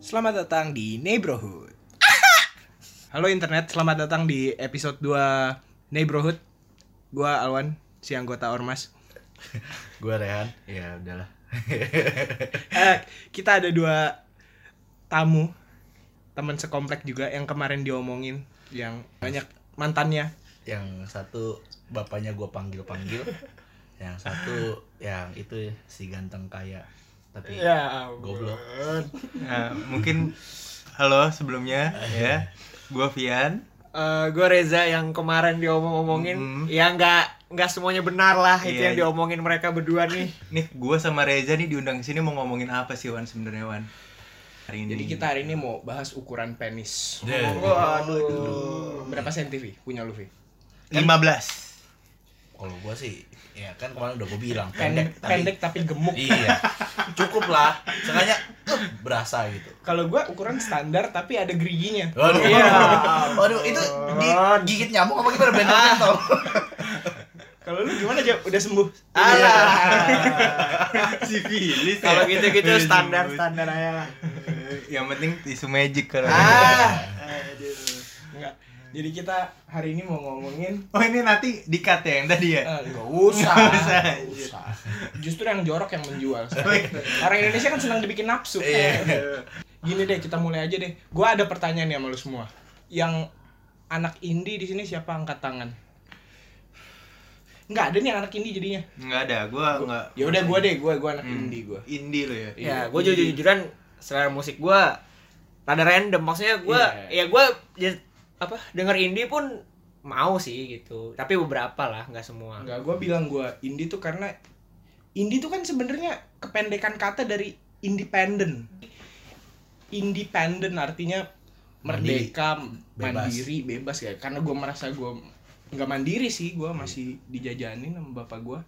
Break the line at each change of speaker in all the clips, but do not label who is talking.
Selamat datang di Neighborhood. Halo internet, selamat datang di episode 2 Neighborhood. Gua Alwan, si anggota Ormas.
Gua Rehan. Ya udahlah.
Eh, kita ada dua tamu teman sekomplek juga yang kemarin diomongin yang banyak mantannya.
yang satu bapaknya gua panggil-panggil. yang satu yang itu si ganteng kaya. Tapi
Ya,
Iya.
Goblok.
Nah, mungkin halo sebelumnya ya. Gua Vian.
eh gue Reza yang kemarin diomong-omongin
Mm-hmm.
Mhm.
ya nggak nggak semuanya benar lah itu
Iya,
yang
iya.
diomongin mereka berdua nih
Nih, gua sama Reza nih diundang ke sini mau ngomongin apa sih Wan sebenarnya Wan? Hari ini.
Jadi
Hmm.
kita hari ini mau bahas ukuran penis.
Iya,
waduh
Berapa senti Vi? punya lu Vi?
15.
Kalau gua sih ya kan kemarin udah gua bilang
Pendek,
pendek, tapi-
pendek tapi gemuk.
Iya. Cukup lah. Sengaja eh, berasa gitu.
Kalau gua ukuran standar tapi ada geriginya.
Waduh,
Iya.
waduh itu digigit nyamuk apa gimana bentol
Ah.
bentol?
Kalau lu gimana Jawab? Udah sembuh?
Alah.
Sifilis
kalau gitu-gitu standar standar ya. aja
Iya.
lah
Yang penting tisu magic kalau. gitu.
ah
Enggak. Jadi kita hari ini mau ngomongin
Oh, ini nanti di-cut ya yang tadi ya.
eh, enggak
Usah,
usah.
usah,
usah.
Justru yang jorok yang menjual. Orang Indonesia kan senang dibikin nafsu.
Iya.
Gini deh, kita mulai aja deh. Gua ada pertanyaan nih sama lu semua. Yang anak indie di sini siapa angkat tangan? Enggak ada nih anak indie jadinya.
Enggak ada, gua enggak.
Ya udah gua deh, gua gua anak
Hmm.
indie gua.
Indie lo ya.
Iya.
ya gue jujur jujuran selera musik gue rada random maksudnya gue
Iya.
ya gue apa denger indie pun mau sih gitu tapi beberapa lah nggak semua
Enggak, gua bilang gua indie tuh karena indie tuh kan sebenarnya kependekan kata dari independen. Independen artinya
Mandiri.
merdeka,
Bebas.
mandiri, bebas ya. Karena gua merasa gua nggak mandiri sih,
Iya.
gua masih dijajanin sama bapak gua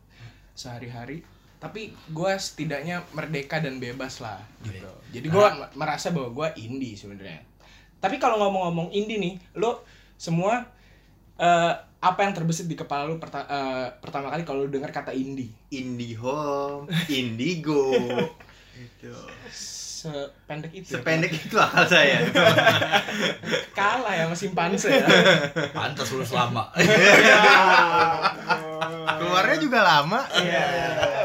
sehari-hari. Tapi gua setidaknya merdeka dan bebas lah
Iya.
gitu. Jadi gua m- merasa bahwa gua indie sebenarnya. Tapi kalau ngomong-ngomong indie nih, lo semua eh, apa yang terbesit di kepala lu perta- eh, pertama kali kalau lu dengar kata indie?
Indie home, indigo. Gitu.
Sependek itu. ya?
Sependek itu akal saya.
kalah ya sama simpanse ya.
Pantas lu selama.
Oh, Keluarnya juga lama.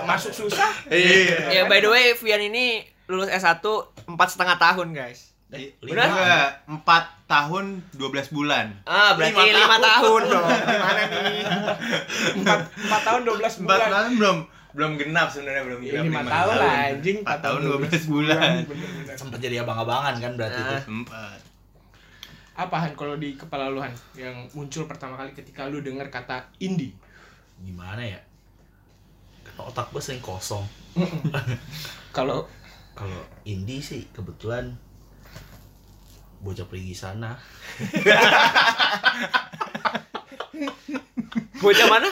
Masuk susah.
Iya.
ya by the way Vian ini lulus S1 empat setengah tahun guys
Eh, Benar enggak? 4 tahun 12 bulan.
Ah, berarti
Lima
lima tahun. dong.
Gimana nih? 4, tahun 12
4
bulan.
tahun belum belum genap sebenarnya belum
Ya,
genap
lima
Iya, lima
tahun lah anjing.
4 tahun 12 bulan.
Bener-bener.
Sempat jadi abang-abangan kan berarti itu.
Ah.
Empat.
Apahan kalau di kepala lu Han yang muncul pertama kali ketika lu dengar kata indie?
Gimana ya? Karena otak gue sering kosong.
Kalau
Kalau indie sih kebetulan bocah pergi sana.
Bocah mana?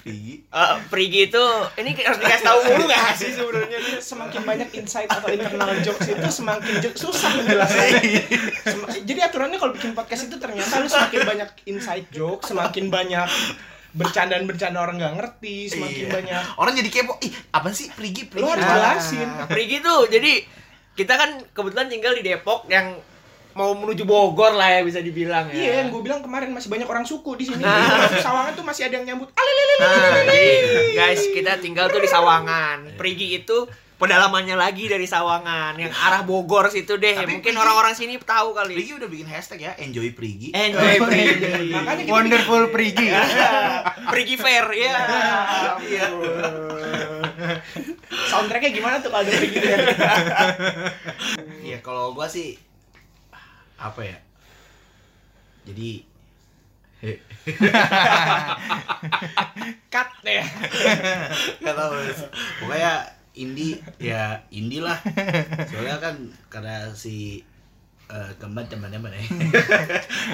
Pergi.
Eh, Prigi itu ini harus dikasih tahu mulu gak sih sebenarnya?
semakin banyak insight atau internal jokes itu semakin jo- susah menjelaskan. Sem- Jadi aturannya kalau bikin podcast itu ternyata lu semakin banyak insight jokes, semakin banyak bercandaan-bercandaan orang nggak ngerti, semakin
Iya.
banyak
Orang jadi kepo. Ih, apa sih pergi pergi?
Lu harus
Ah.
jelasin.
Ah, Prigi tuh jadi kita kan kebetulan tinggal di Depok yang mau menuju Bogor lah ya bisa dibilang ya.
Iya, yang gue bilang kemarin masih banyak orang suku di sini.
Ah.
Masuk Sawangan tuh masih ada yang nyambut. Alele.
Nah, jadi guys, kita tinggal tuh di
Iya.
Sawangan. Prigi itu pedalamannya lagi dari Sawangan yang arah Bogor situ deh.
Tapi
Mungkin
Prigi-
orang-orang sini tahu kali.
Pergi udah bikin hashtag ya, enjoy pergi.
Eh.
Enjoy
Oh,
Prigi.
Makanya kita
Wonderful Prigi.
Prigi Fair ya.
Iya. Soundtracknya gimana tuh kalau ada begitu ya?
Iya, kalau gua sih apa ya? Jadi
Cut ya.
Gak tau Pokoknya indie ya indie lah Soalnya kan karena si eh teman teman-teman ya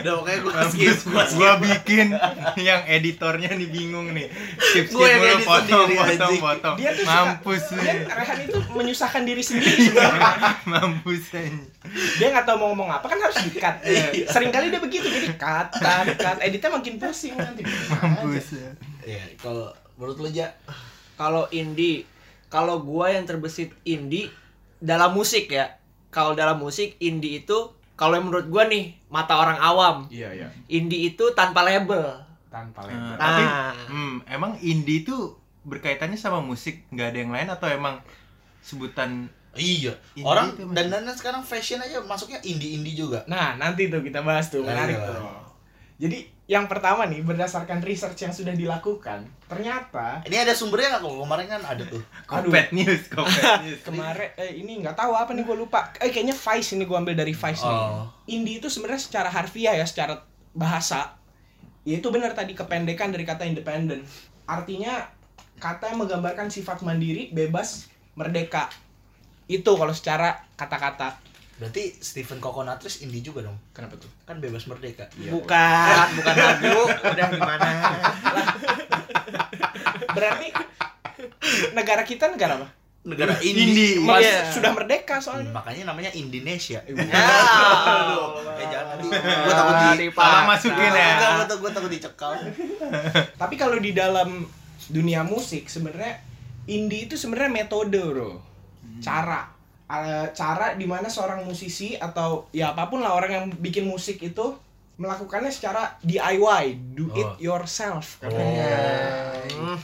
Udah pokoknya gue skip Gue
gua bikin yang editornya nih bingung nih. Skip skip
Gua yang
mulu
edit
potong
sendiri,
potong
anjing.
potong.
Dia tuh suka-
Mampus
Dia
nih.
Rehan itu menyusahkan diri sendiri sebenarnya.
Mampus anjing.
dia nggak tahu mau ngomong apa kan harus di cut sering kali dia begitu jadi cut cut cut editnya makin pusing nanti
Mampus.
Ya kalau menurut lu Ja
Kalau indie, kalau gua yang terbesit indie dalam musik ya. kalau dalam musik indie itu kalau yang menurut gua nih mata orang awam
Iya iya.
indie itu tanpa label.
Tanpa
Eh,
label.
tapi
Nah.
hmm, emang indie itu berkaitannya sama musik nggak ada yang lain atau emang sebutan
Iya.
Indie
Orang
itu
dan
masih-
dan sekarang fashion aja masuknya indie-indie juga. Iya.
Nah, nanti tuh kita bahas tuh, Iya, menarik
Ayo.
tuh. Jadi, yang pertama nih berdasarkan research yang sudah dilakukan, ternyata
Ini ada sumbernya nggak kalau kemarin kan ada tuh.
Kopet News, Kopet News.
kemarin eh ini nggak tahu apa nih gue lupa. Eh kayaknya Vice ini gue ambil dari Vice nih.
Oh.
Indie itu sebenarnya secara harfiah ya, secara bahasa ya itu benar tadi kependekan dari kata independen. Artinya kata yang menggambarkan sifat mandiri, bebas, merdeka. Itu kalau secara kata-kata.
Berarti Stephen Kokonatris indie juga dong.
Kenapa tuh?
Kan bebas merdeka.
bukan, bukan lagu, udah gimana.
Berarti negara kita negara apa?
Negara indie.
Indie.
Mas-
Iya.
Sudah merdeka
Hmm,
soalnya.
Makanya namanya Indonesia.
Iya.
Ya.
Aduh, eh, jangan nanti.
Iya.
Gua takut di
Salah masukin ya.
Enggak, gua takut- gua takut dicekal.
Tapi kalau di dalam dunia musik sebenarnya indie itu sebenarnya metode, Bro.
Hmm.
Cara Eh, cara di mana seorang musisi atau ya apapun lah orang yang bikin musik itu melakukannya secara DIY, do it
Oh.
yourself
Hmm,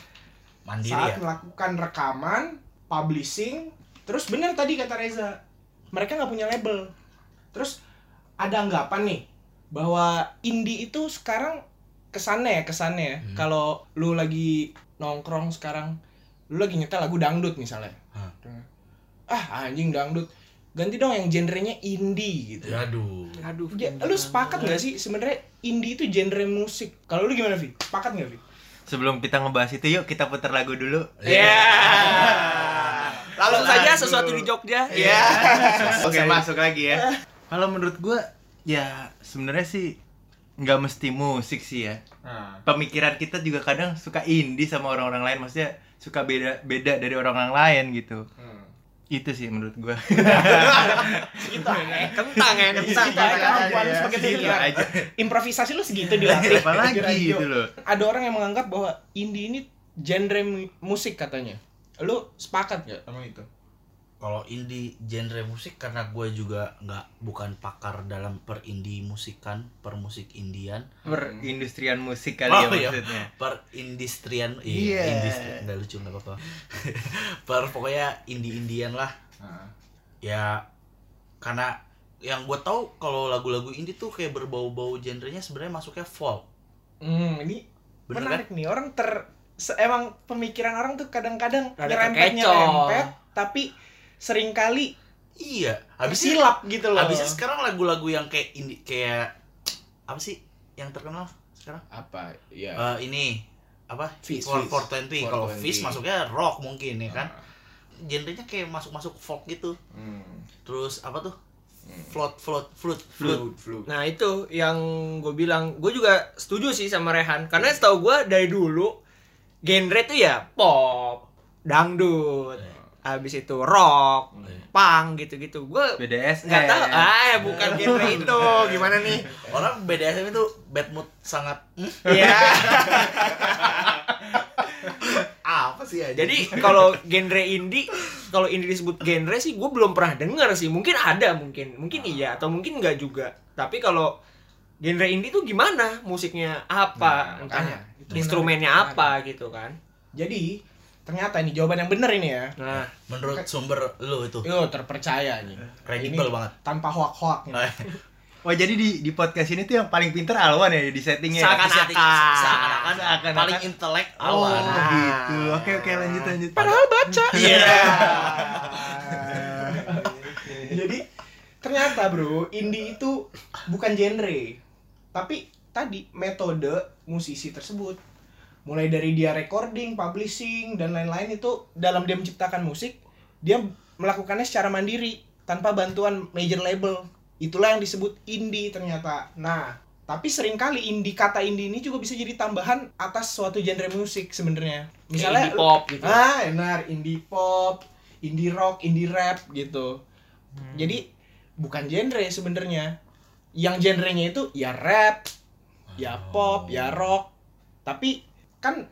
Mandiri
Saat
ya.
melakukan rekaman, publishing, terus bener tadi kata Reza, mereka nggak punya label. Terus ada anggapan nih bahwa indie itu sekarang kesannya ya kesannya ya.
Hmm.
Kalau lu lagi nongkrong sekarang, lu lagi nyetel lagu dangdut misalnya.
Hah.
Ah anjing dangdut, ganti dong yang genrenya indie gitu.
Aduh.
Aduh,
Ya, lu sepakat nggak sih sebenarnya indie itu genre musik? Kalau lu gimana Vi? Sepakat nggak Vi?
Sebelum kita ngebahas itu, yuk kita putar lagu dulu.
Ya. Lalu
Lagu.
saja sesuatu di Jogja. Ya.
Oke, masuk lagi ya. Kalau menurut gua ya sebenarnya sih nggak mesti musik sih ya.
Hmm.
Pemikiran kita juga kadang suka indie sama orang-orang lain, maksudnya suka beda beda dari orang-orang lain gitu.
Hmm.
Itu sih menurut gua.
Gitu. eh.
Kentang ya, kentang.
Kita aja,
Iya,
Jualan spaghetti
Gitu
killer.
aja.
improvisasi lu segitu dilatih
Apa
di
lagi
radio.
gitu loh.
ada orang yang menganggap bahwa indie ini genre mu- musik katanya lu sepakat gak sama itu
Kalau indie genre musik karena gue juga nggak bukan pakar dalam per indie musikan, per musik indian,
Perindustrian musik kali
Oh,
ya
iya.
maksudnya.
per industrian,
Iya.
iya, industri- nggak lucu nggak apa-apa. per pokoknya indie indian lah. Ya karena yang gue tahu kalau lagu-lagu indie tuh kayak berbau-bau genrenya sebenarnya masuknya folk.
hmm ini
Bener kan?
menarik nih orang ter se- emang pemikiran orang tuh kadang-kadang
Rada
nyerempet
terkecoh.
nyerempet tapi seringkali
Iya. Habisnya
silap gitu loh
Abisnya sekarang lagu-lagu yang kayak ini kayak apa sih yang terkenal sekarang?
apa ya
Eh ini apa?
Fish,
For
Fish.
for twenty. Kalau
420.
fish masuknya rock mungkin ya kan? Genrenya kayak masuk-masuk folk gitu. Terus apa tuh? Float float flute Hmm. flute.
Nah itu yang gue bilang, gue juga setuju sih sama Rehan Karena setahu gue dari dulu genre tuh ya pop, dangdut, habis itu rock, punk gitu-gitu Gue
BDSM.
nggak tahu, ah bukan genre itu, gimana nih?
Orang BDSM itu bad mood sangat hmm,
Ya,
apa sih ya?
jadi kalau genre indie, kalau indie disebut genre sih gue belum pernah dengar sih Mungkin ada mungkin, mungkin iya atau mungkin nggak juga Tapi kalau genre indie tuh gimana? Musiknya apa?
Nah,
Entah
makanya. Itu
instrumennya
menarik,
apa gitu kan
jadi ternyata ini jawaban yang bener ini ya
Nah,
menurut sumber lu itu
yo terpercaya nih
kredibel banget. Eh,
tanpa hoak-hoak nih.
Wah jadi di di podcast ini tuh yang paling pinter Alwan ya di settingnya. ya?
Seakan-akan.
Bisa di- seakan-akan
Seakan-akan.
paling intelek
Oh
awan.
gitu. Oke oke lanjut lanjut.
padahal baca
Iya.
Jadi ternyata bro, indie itu bukan genre, tapi tadi metode musisi tersebut. Mulai dari dia recording, publishing, dan lain-lain itu dalam dia menciptakan musik, dia melakukannya secara mandiri tanpa bantuan major label. Itulah yang disebut indie ternyata. Nah, tapi seringkali indie kata indie ini juga bisa jadi tambahan atas suatu genre musik sebenarnya. Misalnya
Kayak indie pop gitu.
Ah, benar, indie pop, indie rock, indie rap gitu. Jadi bukan genre sebenarnya. Yang genrenya itu ya rap, ya pop, ya rock. Tapi kan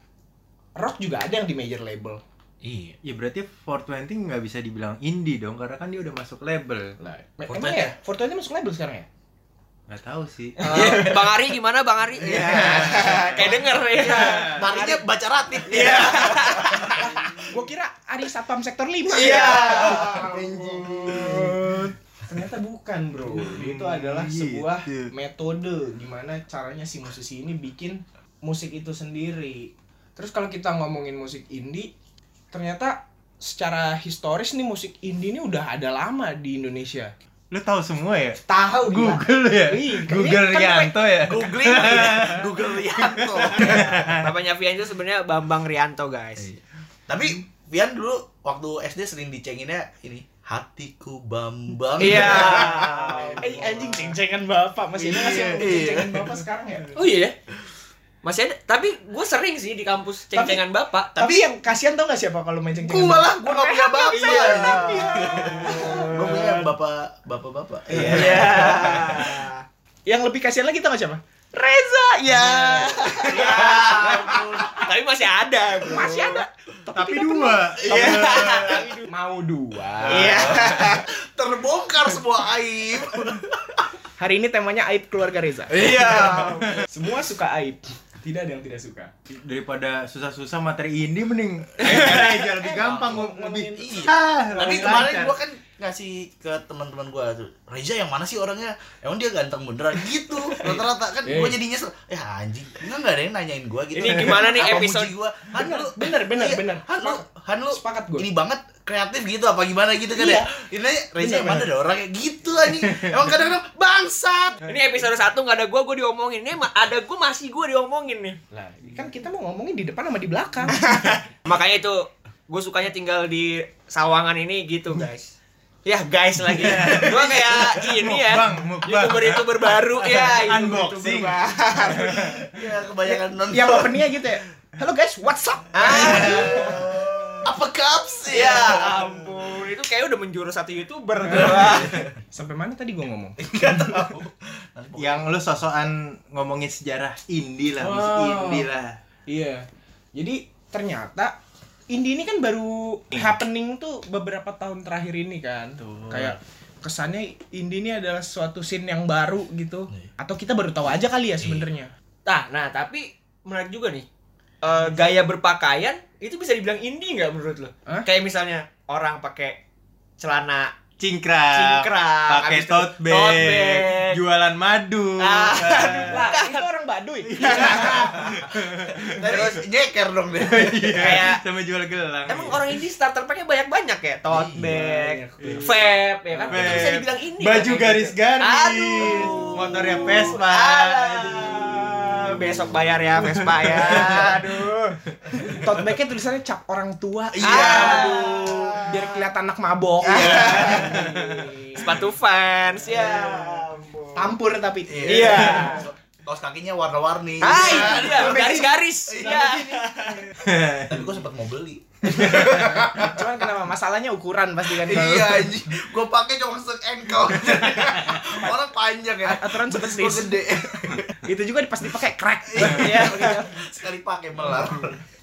rock juga ada yang di major label.
Iya.
Ya berarti 420 nggak bisa dibilang indie dong karena kan dia udah masuk label.
Lah,
Me-
Fortnite
Emang ya? Fortnite masuk label sekarang ya?
Nggak tahu sih.
Eh, Bang Ari gimana Bang Ari?
Iya.
Kayak denger ya.
Marinya baca ratip.
Gua kira Ari Satpam Sektor ya? 5.
Iya.
Ternyata bukan, Bro. Itu adalah
gitu.
sebuah metode gimana caranya si musisi ini bikin musik itu sendiri. Terus kalau kita ngomongin musik indie, ternyata secara historis nih musik indie ini udah ada lama di Indonesia.
Lu tahu semua ya?
Tahu gila.
Google ya?
Iya,
Google
kan
Rianto ya?
Googling ya. Google Rianto.
Bapaknya Vian itu sebenarnya Bambang Rianto, guys.
Iya.
Tapi Vian dulu waktu SD sering dicenginnya ini hatiku Bambang.
Iya.
Eh anjing ceng-cengan bapak masih ada masih
Iya, iya.
ceng-cengan bapak sekarang ya?
Oh iya. Masih ada, tapi gue sering sih di kampus ceng-cengan bapak.
Tapi, yang kasihan tau gak siapa kalau main ceng-cengan?
Gua malah gua enggak punya bapak. Iya. Gua
Gua
punya bapak bapak-bapak.
Iya.
Yang lebih kasihan lagi tau gak siapa?
Reza, ya. Ya. Tapi masih ada. bro.
Masih ada.
Tapi dua. Iya.
Mau dua.
Iya.
Terbongkar semua aib.
Hari ini temanya aib keluarga Reza.
Iya.
Semua suka aib. Tidak ada yang tidak suka.
Daripada susah-susah materi indie mending aja lebih gampang
ngomongin-
Iya.
lebih. Ah,
Tapi
lebih
kemarin
lancar.
gua kan ngasih ke teman-teman gua tuh, Reza yang mana sih orangnya? Emang dia ganteng beneran gitu. Rata-rata kan gua jadi nyesel. Ya anjing, enggak enggak ada yang nanyain gua gitu.
Eh. Ini gimana nih
Apa
episode-
muji gua? Han
Bener,
lu
bener, bener,
iya,
bener.
Han lu, Han lu
Sepakat gua.
Ini banget kreatif gitu apa gimana gitu kan
Iya.
ya. Ini aja, Reza
Bener,
yang mana ada orangnya gitu anjing. Emang kadang-kadang bangsat.
Ini episode 1 nggak ada gue, gue diomongin. Ini ma- ada gue masih gue diomongin nih.
Lah, kan kita mau ngomongin di depan sama di belakang.
Makanya itu gue sukanya tinggal di Sawangan ini gitu guys. Ya guys lagi. Gue kayak ini ya.
Mukbang, mukbang.
Youtuber youtuber baru ya.
Unboxing.
Ya kebanyakan nonton.
yang openingnya gitu ya. Halo guys, what's up?
apa cups
Iya.
Ya
ya?
ampun, itu kayak udah menjurus satu youtuber.
Ah. Sampai mana tadi gua ngomong?
yang lu sosokan ngomongin sejarah indie lah, musik
Wow.
indie lah.
Iya. Jadi ternyata indie ini kan baru happening tuh beberapa tahun terakhir ini kan.
Betul.
Kayak kesannya indie ini adalah suatu scene yang baru gitu.
Iya.
Atau kita baru tahu aja kali ya sebenarnya.
Nah, nah tapi menarik juga nih. Eh, gaya berpakaian itu bisa dibilang indie nggak menurut lo?
Hah?
Kayak misalnya orang pakai celana
Cingkrang,
Cingkrang,
Ah, pakai
habis itu
tote bag, Nah,
tote bag.
jualan madu.
Ah.
Lah, itu Kan orang Baduy.
Terus nyeker dong deh.
Iya, sama jual gelang. Iya.
Emang orang indie starter packnya banyak-banyak ya? Tote
Iya,
bag,
banyak.
vape, ya kan? Itu bisa
Vape,
dibilang indie.
Baju
kan, kayak gitu.
garis-garis.
Aduh.
Motornya Vespa.
Aduh. Besok bayar ya Vespa ya. Aduh.
Tote bag-nya tulisannya cap orang tua. Ah,
Iya.
Aduh, biar kelihatan anak mabok.
Sepatu fans ya. ampun.
Tampur tapi.
Iya.
Kaos kakinya warna-warni.
Ah, itu dia. Garis-garis.
Iya.
Ya.
Tapi gue sempat mau beli.
Cuman kenapa masalahnya ukuran pasti kan. kalau-
iya anjing. Gue pakai cuma se ankle. Orang panjang ya.
Aturan seperti
Gua
itu.
gede.
Itu juga pasti pakai crack.
Iya.
Iya,
Sekali pakai melar.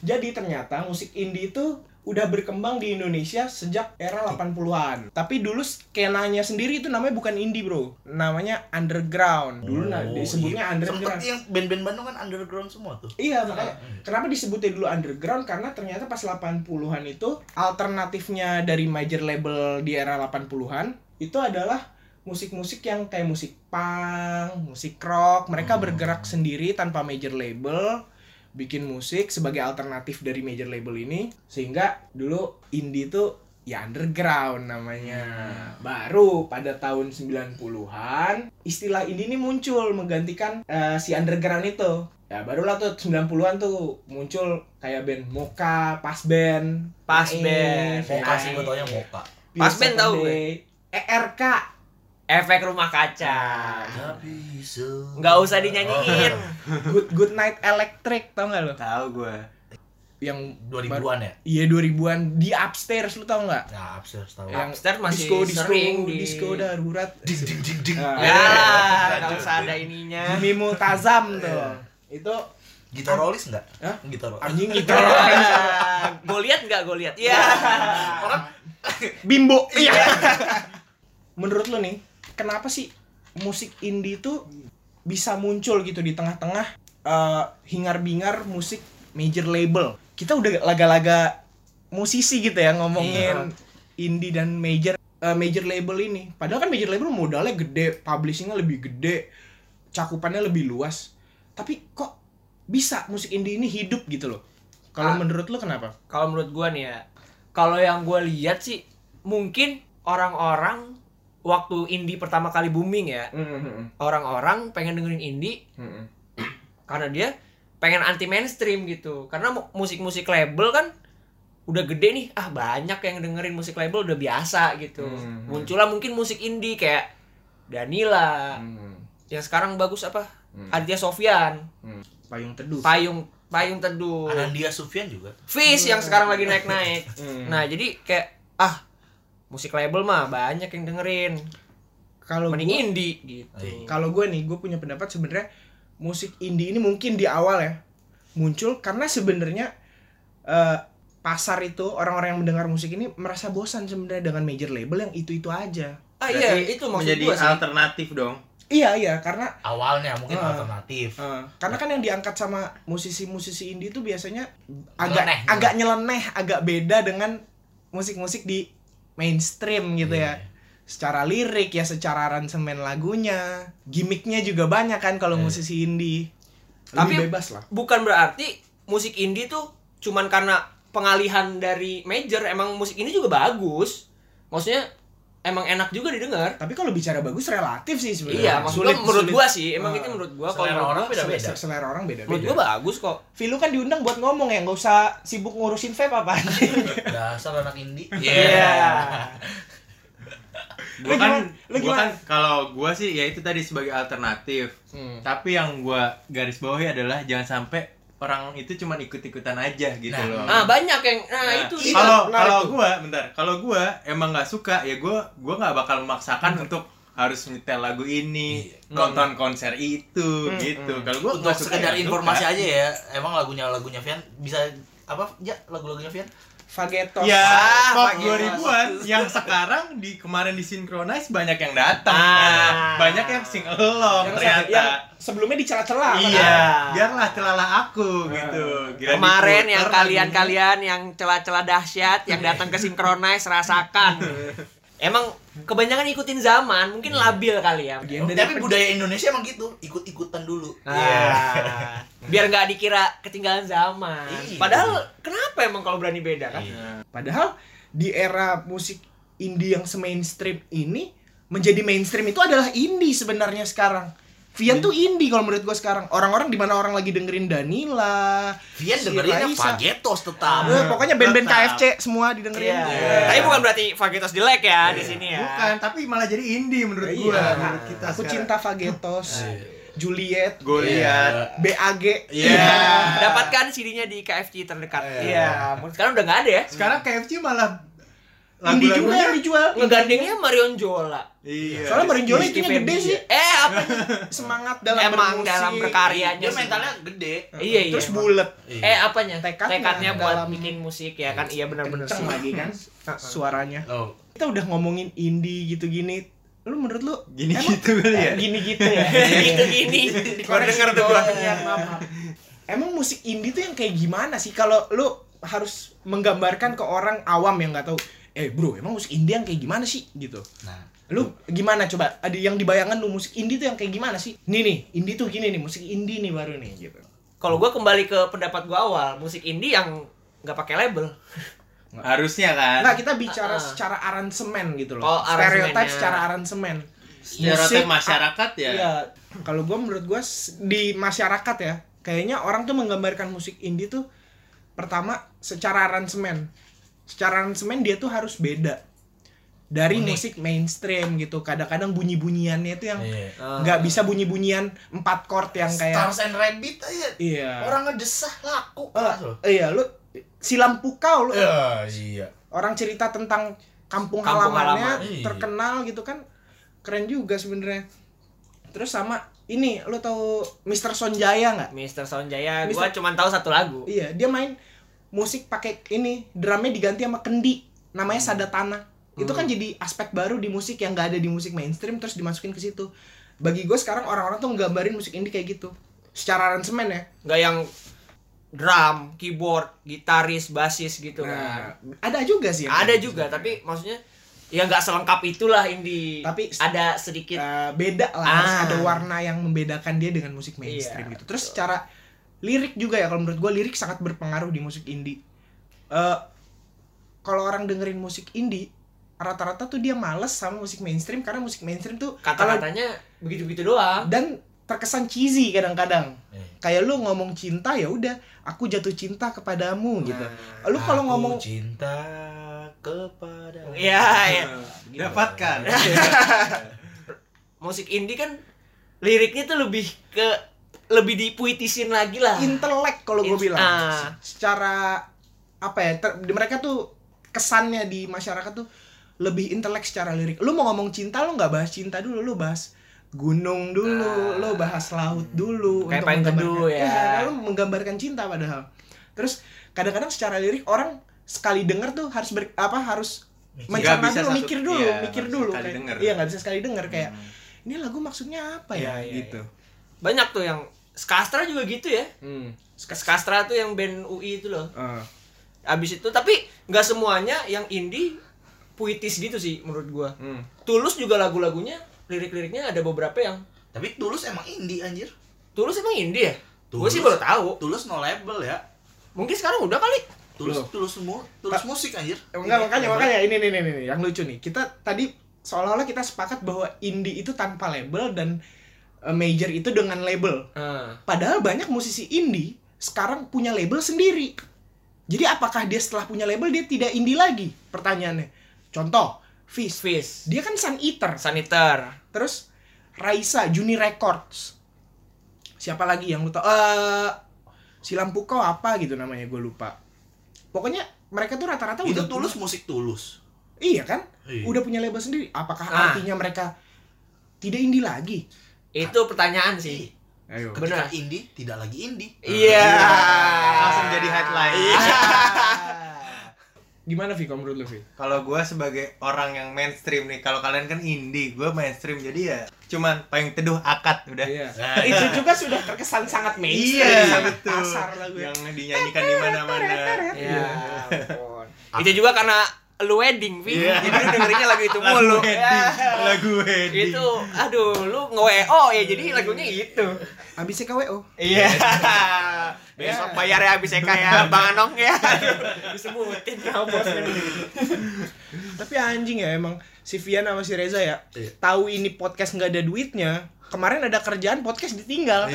Jadi ternyata musik indie itu udah berkembang di Indonesia sejak era 80-an. Tapi dulu skenanya sendiri itu namanya bukan indie, Bro. Namanya underground. Dulu nah
Oh,
disebutnya
iya.
underground.
Seperti yang band-band Bandung kan underground semua tuh.
Iya, makanya kenapa disebutnya dulu underground karena ternyata pas 80-an itu alternatifnya dari major label di era 80-an itu adalah musik-musik yang kayak musik punk, musik rock, mereka bergerak sendiri tanpa major label, bikin musik sebagai alternatif dari major label ini sehingga dulu indie itu ya underground namanya.
Hmm.
Baru pada tahun 90-an istilah indie ini muncul menggantikan eh, si underground itu. Ya barulah tuh 90-an tuh muncul kayak band Moka, Pas Band,
Pas
Naif, Iya,
Band.
Moka sih gue
Naif,
taunya Moka.
Pure
Pas Band tahu
Saturday, ERK.
Efek rumah kaca.
Tapi se.
Nggak usah dinyanyiin.
Good Good Night Electric tau gak lo?
Tahu gue.
Yang
Dua
baru-
ribuan ya.
Iya 2000-an di upstairs lu tau nggak?
Nah, absurd tahu.
Yang
Oh, Upstairs masih
disco, disco,
sering di-
disco darurat.
Ding ding ding Iya, ding.
Ah.
Ya, nggak usah ada ininya.
Jimmy Multazam tuh. Itu
Gitarolis nggak?
Hah?
Gitarolis.
Anjing gitu.
gue lihat nggak gue lihat ya
Orang
Bimbo. Iya. Menurut lo nih, kenapa sih musik indie itu bisa muncul gitu di tengah-tengah eh, hingar-bingar musik major label? Kita udah laga-laga musisi gitu ya ngomongin indie dan major eh, major label ini. Padahal kan major label modalnya gede, publishingnya lebih gede, cakupannya lebih luas. Tapi kok bisa musik indie ini hidup gitu loh? Kalau
Ah.
menurut lo kenapa?
kalau menurut gue nih ya kalau yang gue lihat sih mungkin orang-orang waktu indie pertama kali booming ya
Hmm,
orang-orang pengen dengerin indie karena dia pengen anti mainstream gitu karena mu- musik-musik label kan udah gede nih ah banyak yang dengerin musik label udah biasa gitu
Hmm.
muncullah mungkin musik indie kayak Danila
hmm,
yang sekarang bagus apa
Hmm.
Aditya Sofyan
Payung teduh.
payung payung teduh
Anandia Sufyan juga.
Fish yang sekarang lagi naik-naik
Hmm.
nah jadi kayak ah musik label mah banyak yang dengerin
Kalau
mending
gua-
indie gitu
Iya.
kalau gue nih gue punya pendapat sebenarnya musik indie ini mungkin di awal ya muncul karena sebenarnya eh, pasar itu orang-orang yang mendengar musik ini merasa bosan sebenarnya dengan major label yang itu itu aja
ah
Berarti
iya itu maksud
menjadi
gue sih
alternatif dong.
iya iya karena
Awalnya mungkin
Ah.
alternatif.
eh, karena kan yang diangkat sama musisi-musisi indie itu biasanya agak
Nyeleneh, gitu.
agak nyeleneh agak beda dengan musik-musik di mainstream gitu ya
Iya.
secara lirik ya secara aransemen lagunya gimmicknya juga banyak kan kalau
Iya.
musisi indie
Tapi-
lebih bebas lah
bukan berarti musik indie tuh cuman karena pengalihan dari major emang musik ini juga bagus maksudnya emang enak juga didengar
Tapi kalau bicara bagus relatif sih
iya
sebenarnya.
maksudnya menurut
sulit.
gua sih
Ah.
emang itu menurut gua kalau
Selera
menurut
orang
gua-
beda-beda.
Selera- Iya. Selera orang
menurut
beda-beda.
gua bagus kok
Vilu kan diundang buat ngomong ya, nggak usah sibuk ngurusin vape apa.
Iya.
Iya.
Dasar anak indie. Iya.
Lu
Gua
gimana?
kan,
Lu
gua
gimana? Hmm.
kan kalau gua sih ya itu tadi sebagai alternatif. Tapi yang gua garis bawahi adalah jangan sampai orang itu cuma ikut-ikutan aja gitu
Nah,
loh.
nah banyak yang nah,
Nah,
itu
iya.
kalau
menarik
kalau
tuh.
gua bentar kalau gua emang nggak suka ya gua gua nggak bakal memaksakan
Hmm.
untuk harus nyetel lagu ini
Iya.
nonton konser
Hmm,
itu gitu
hmm.
kalau gua
Untuk
nggak suka
sekedar
ya nggak
informasi
suka.
aja ya, emang lagunya lagunya Vian bisa apa ya lagu-lagunya Vian?
Fagetos.
ya
Ah,
pop
pagi.
2000-an yang sekarang di kemarin di Synchronize banyak yang datang
Ah.
banyak yang sing along
Yang-
ternyata
yang sebelumnya dicela-cela. kan?
iya
Ah.
biarlah celalah aku gitu
Ah.
Gila
kemarin
diputer
yang
lagunya.
kalian-kalian yang celah-celah dahsyat yang datang ke Synchronize rasakan emang kebanyakan ikutin zaman mungkin
Iya.
labil kali ya
Bagian dari
Tapi budaya Indonesia emang gitu, ikut-ikutan dulu. Iya.
Ah. biar nggak dikira ketinggalan zaman.
Iya.
Padahal kenapa emang kalau berani beda kan?
Iya.
Padahal di era musik indie yang se-mainstream ini menjadi mainstream itu adalah indie sebenarnya sekarang. Vian tuh
Iya.
indie kalau menurut gua sekarang. Orang-orang di mana orang lagi dengerin Danila.
Vian
si
dengerinnya
Raisa.
Fagetos tetap.
Eh, pokoknya band-band
Tetap.
KFC semua didengerin.
Ah, Iya.
Iya.
Tapi bukan berarti fakultas jelek ya di
Iya.
sini ya.
bukan tapi malah jadi indie menurut
Iya.
gua menurut kita
Aku
sekarang.
cinta Fagetos, Juliet,
gua lihat
BAG.
Iya.
Dapatkan CD-nya di KFC terdekat.
Iya.
Iya. Sekarang udah nggak ada ya.
Sekarang KFC malah
Ini juga yang
lagu-lagunya-
dijual.
Ngegandengnya Marion Jola.
Iya.
Soalnya Marion Jola
Rizky
itu gede
Febian.
sih.
Eh apa?
Semangat dalam
Emang
bermusik.
dalam berkarya.
Dia mentalnya gede.
iya iya.
Terus
emang.
bulet.
Iya.
Eh apanya?
Tekadnya.
Tekadnya, buat
Dalam-
bikin musik ya kan? Iya benar-benar
Kenceng
sih.
lagi kan
Uh-uh.
suaranya.
Oh,
Kita udah ngomongin indie gitu-gini. Lu menurut lu
Gini
Emang-
gitu kali ya.
gini gitu ya?
Gitu gini. Baru
Dikoreksi
denger tuh gua.
doang, ya, maaf, maaf. Emang musik indie tuh yang kayak gimana sih kalau lu harus menggambarkan ke orang awam yang nggak tahu eh bro emang musik indie yang kayak gimana sih gitu
nah.
lu gimana coba ada yang dibayangkan lu musik indie tuh yang kayak gimana sih nih nih indie tuh gini nih musik indie nih baru nih gitu
Kalau gua kembali ke pendapat gua awal, musik indie yang nggak pakai label.
Harusnya kan.
Enggak, kita bicara
Ah.
secara aransemen gitu loh.
Oh,
Stereotip
aransemennya.
secara aransemen.
Stereotip
Musik,
masyarakat ya.
Iya. Kalau gua menurut gua s- di masyarakat ya, kayaknya orang tuh menggambarkan musik indie tuh pertama secara aransemen. Secara aransemen dia tuh harus beda dari
Unik.
musik mainstream gitu. Kadang-kadang bunyi-bunyiannya itu yang
Iya.
nggak bisa bunyi-bunyian empat chord yang kayak
Stars and Rabbit aja.
Iya.
Orang ngedesah laku.
Eh,
Keras loh.
iya, lu silam pukau lu
Ya, iya.
orang cerita tentang kampung,
Kampung
halamannya
halaman, iya.
terkenal gitu kan keren juga sebenarnya terus sama ini lu tahu Mr. Sonjaya nggak?
Mister Sonjaya,
Mister-
gua cuma tahu satu lagu.
Iya, dia main musik pakai ini, drumnya diganti sama kendi, namanya sadatana. Itu
Hmm.
kan jadi aspek baru di musik yang gak ada di musik mainstream terus dimasukin ke situ. Bagi gue sekarang orang-orang tuh nggambarin musik indie kayak gitu. Secara aransemen ya.
Nggak yang drum, keyboard, gitaris, basis gitu
Nah,
kan.
ada juga sih. yang
Ada
kayak gitu.
juga, tapi maksudnya ya nggak selengkap itulah indie.
Tapi-
ada sedikit
Eh, beda lah, harus
Iya. Ah.
ada warna yang membedakan dia dengan musik mainstream
Iya,
gitu. Terus secara lirik juga ya, kalau menurut gue lirik sangat berpengaruh di musik indie. Eh, kalau orang dengerin musik indie, rata-rata tuh dia males sama musik mainstream karena musik mainstream tuh kalau-
kata-katanya begitu-begitu doang.
dan terkesan cheesy kadang-kadang.
Eh.
Kayak lu ngomong cinta ya udah, aku jatuh cinta kepadamu gitu.
Nah.
Lu kalau
Aku
ngomong
cinta kepada
Iya, iya.
Ah. Dapatkan.
Iya.
Musik indie kan liriknya tuh lebih ke lebih dipuitisin lagi lah.
intelek kalau gue
Ins-
bilang
ah.
secara apa ya ter- di- mereka tuh kesannya di masyarakat tuh lebih intelek secara lirik lu mau ngomong cinta lu nggak bahas cinta dulu lu bahas gunung dulu lu bahas laut dulu
Kayak
untuk
Payung
menggambarkan-
Teduh ya.
Iya, lu menggambarkan cinta padahal terus kadang-kadang secara lirik orang sekali denger tuh harus ber- apa harus
Nggak
mencerna
bisa
dulu
satu-
mikir dulu
iya,
mikir
nggak bisa
dulu
sekali
kayak-
denger.
iya nggak bisa sekali denger kayak ini lagu maksudnya apa ya
Iya, iya,
gitu
Banyak tuh yang Skastra juga gitu ya.
Hmm. Skas-
Skastra tuh yang band UI itu loh.
Ah.
Abis itu tapi nggak semuanya yang indie puitis gitu sih menurut gua.
Hmm.
Tulus juga lagu-lagunya, lirik-liriknya ada beberapa yang
Tapi Tulus emang indie anjir.
Tulus emang indie ya? Gue
Tulus.
sih baru tahu.
Tulus no label ya.
Mungkin sekarang udah kali.
Tulus
Loh.
Tulus mu, Tulus musik anjir.
Enggak, makanya
iya.
makanya ini nih nih nih nih, yang lucu nih. Kita tadi seolah-olah kita sepakat bahwa indie itu tanpa label dan eh, major itu dengan label.
Ah.
Padahal banyak musisi indie sekarang punya label sendiri. Jadi apakah dia setelah punya label dia tidak indie lagi? Pertanyaannya. Contoh, Fish.
Fizz,
Dia kan Sun Eater.
Saniter,
Terus Raisa Juni Records. Siapa lagi yang lu tau? Eh si Lampu Kau apa gitu namanya gue lupa. Pokoknya mereka tuh rata-rata
Itu
Kan udah punya-
Tulus musik Tulus.
Iya kan?
Iya.
Udah punya label sendiri. Apakah
Ah.
artinya mereka tidak indie lagi?
Itu pertanyaan sih.
Ayo.
Benar.
Ketika indie tidak lagi indie.
Iya.
Langsung jadi headline.
Gimana Vi kalau menurut lu Vi?
Kalau gue sebagai orang yang mainstream nih, kalau kalian kan indie, gue mainstream jadi ya cuman paling teduh akad udah.
Nah,
Iya. Itu juga sudah terkesan sangat mainstream.
Iya,
sangat
betul.
Pasar lagu
Yang dinyanyikan di mana-mana.
Ya. ampun. itu juga karena lu wedding, Vi.
Iya.
Jadi lu dengerinnya lagu itu mulu.
Lagu
Ya.
wedding, lagu wedding.
Itu aduh, lu nge-WO ya jadi lagunya itu.
Abis KWO.
Iya. Besok bayar ya habis Eka ya, Bang Anong ya. Aduh, disebutin sama bosnya.
Tapi anjing ya emang si Vian sama si Reza ya.
Iya.
Tahu ini podcast nggak ada duitnya. Kemarin ada kerjaan podcast ditinggal.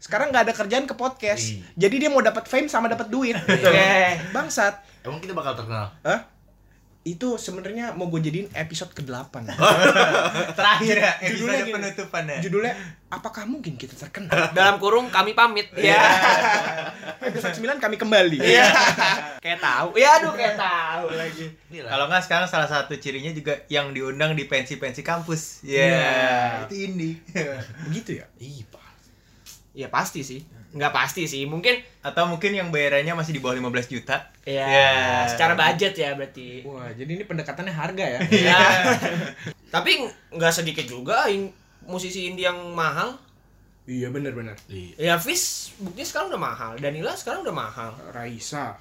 Sekarang nggak ada kerjaan ke podcast.
Iya.
Jadi dia mau dapat fame sama dapat duit. Eh,
Oke.
Bangsat.
Emang kita bakal terkenal.
Hah? Itu sebenarnya mau gue jadiin episode ke-8.
Terakhir ya,
Judulnya
episode ya?
gini.
penutupannya.
Judulnya apakah mungkin kita terkenal?
Dalam kurung kami pamit ya.
Episode 9 kami kembali.
Iya. kayak tahu. Ya aduh kayak tahu lagi.
Ini lah.
Kalau nggak sekarang salah satu cirinya juga yang diundang di pensi-pensi kampus. Ya,
Iya.
itu indie.
Begitu ya.
Ih, Pak.
Ya pasti sih. Nggak pasti sih. Mungkin
Atau mungkin yang bayarannya masih di bawah 15 juta.
ya
Ya.
secara budget ya berarti.
Wah, jadi ini pendekatannya harga ya.
Ya. Tapi nggak sedikit juga in- musisi indie yang mahal.
iya benar-benar.
Iya.
Ya Fis buktinya sekarang udah mahal. Danila sekarang udah mahal.
Raisa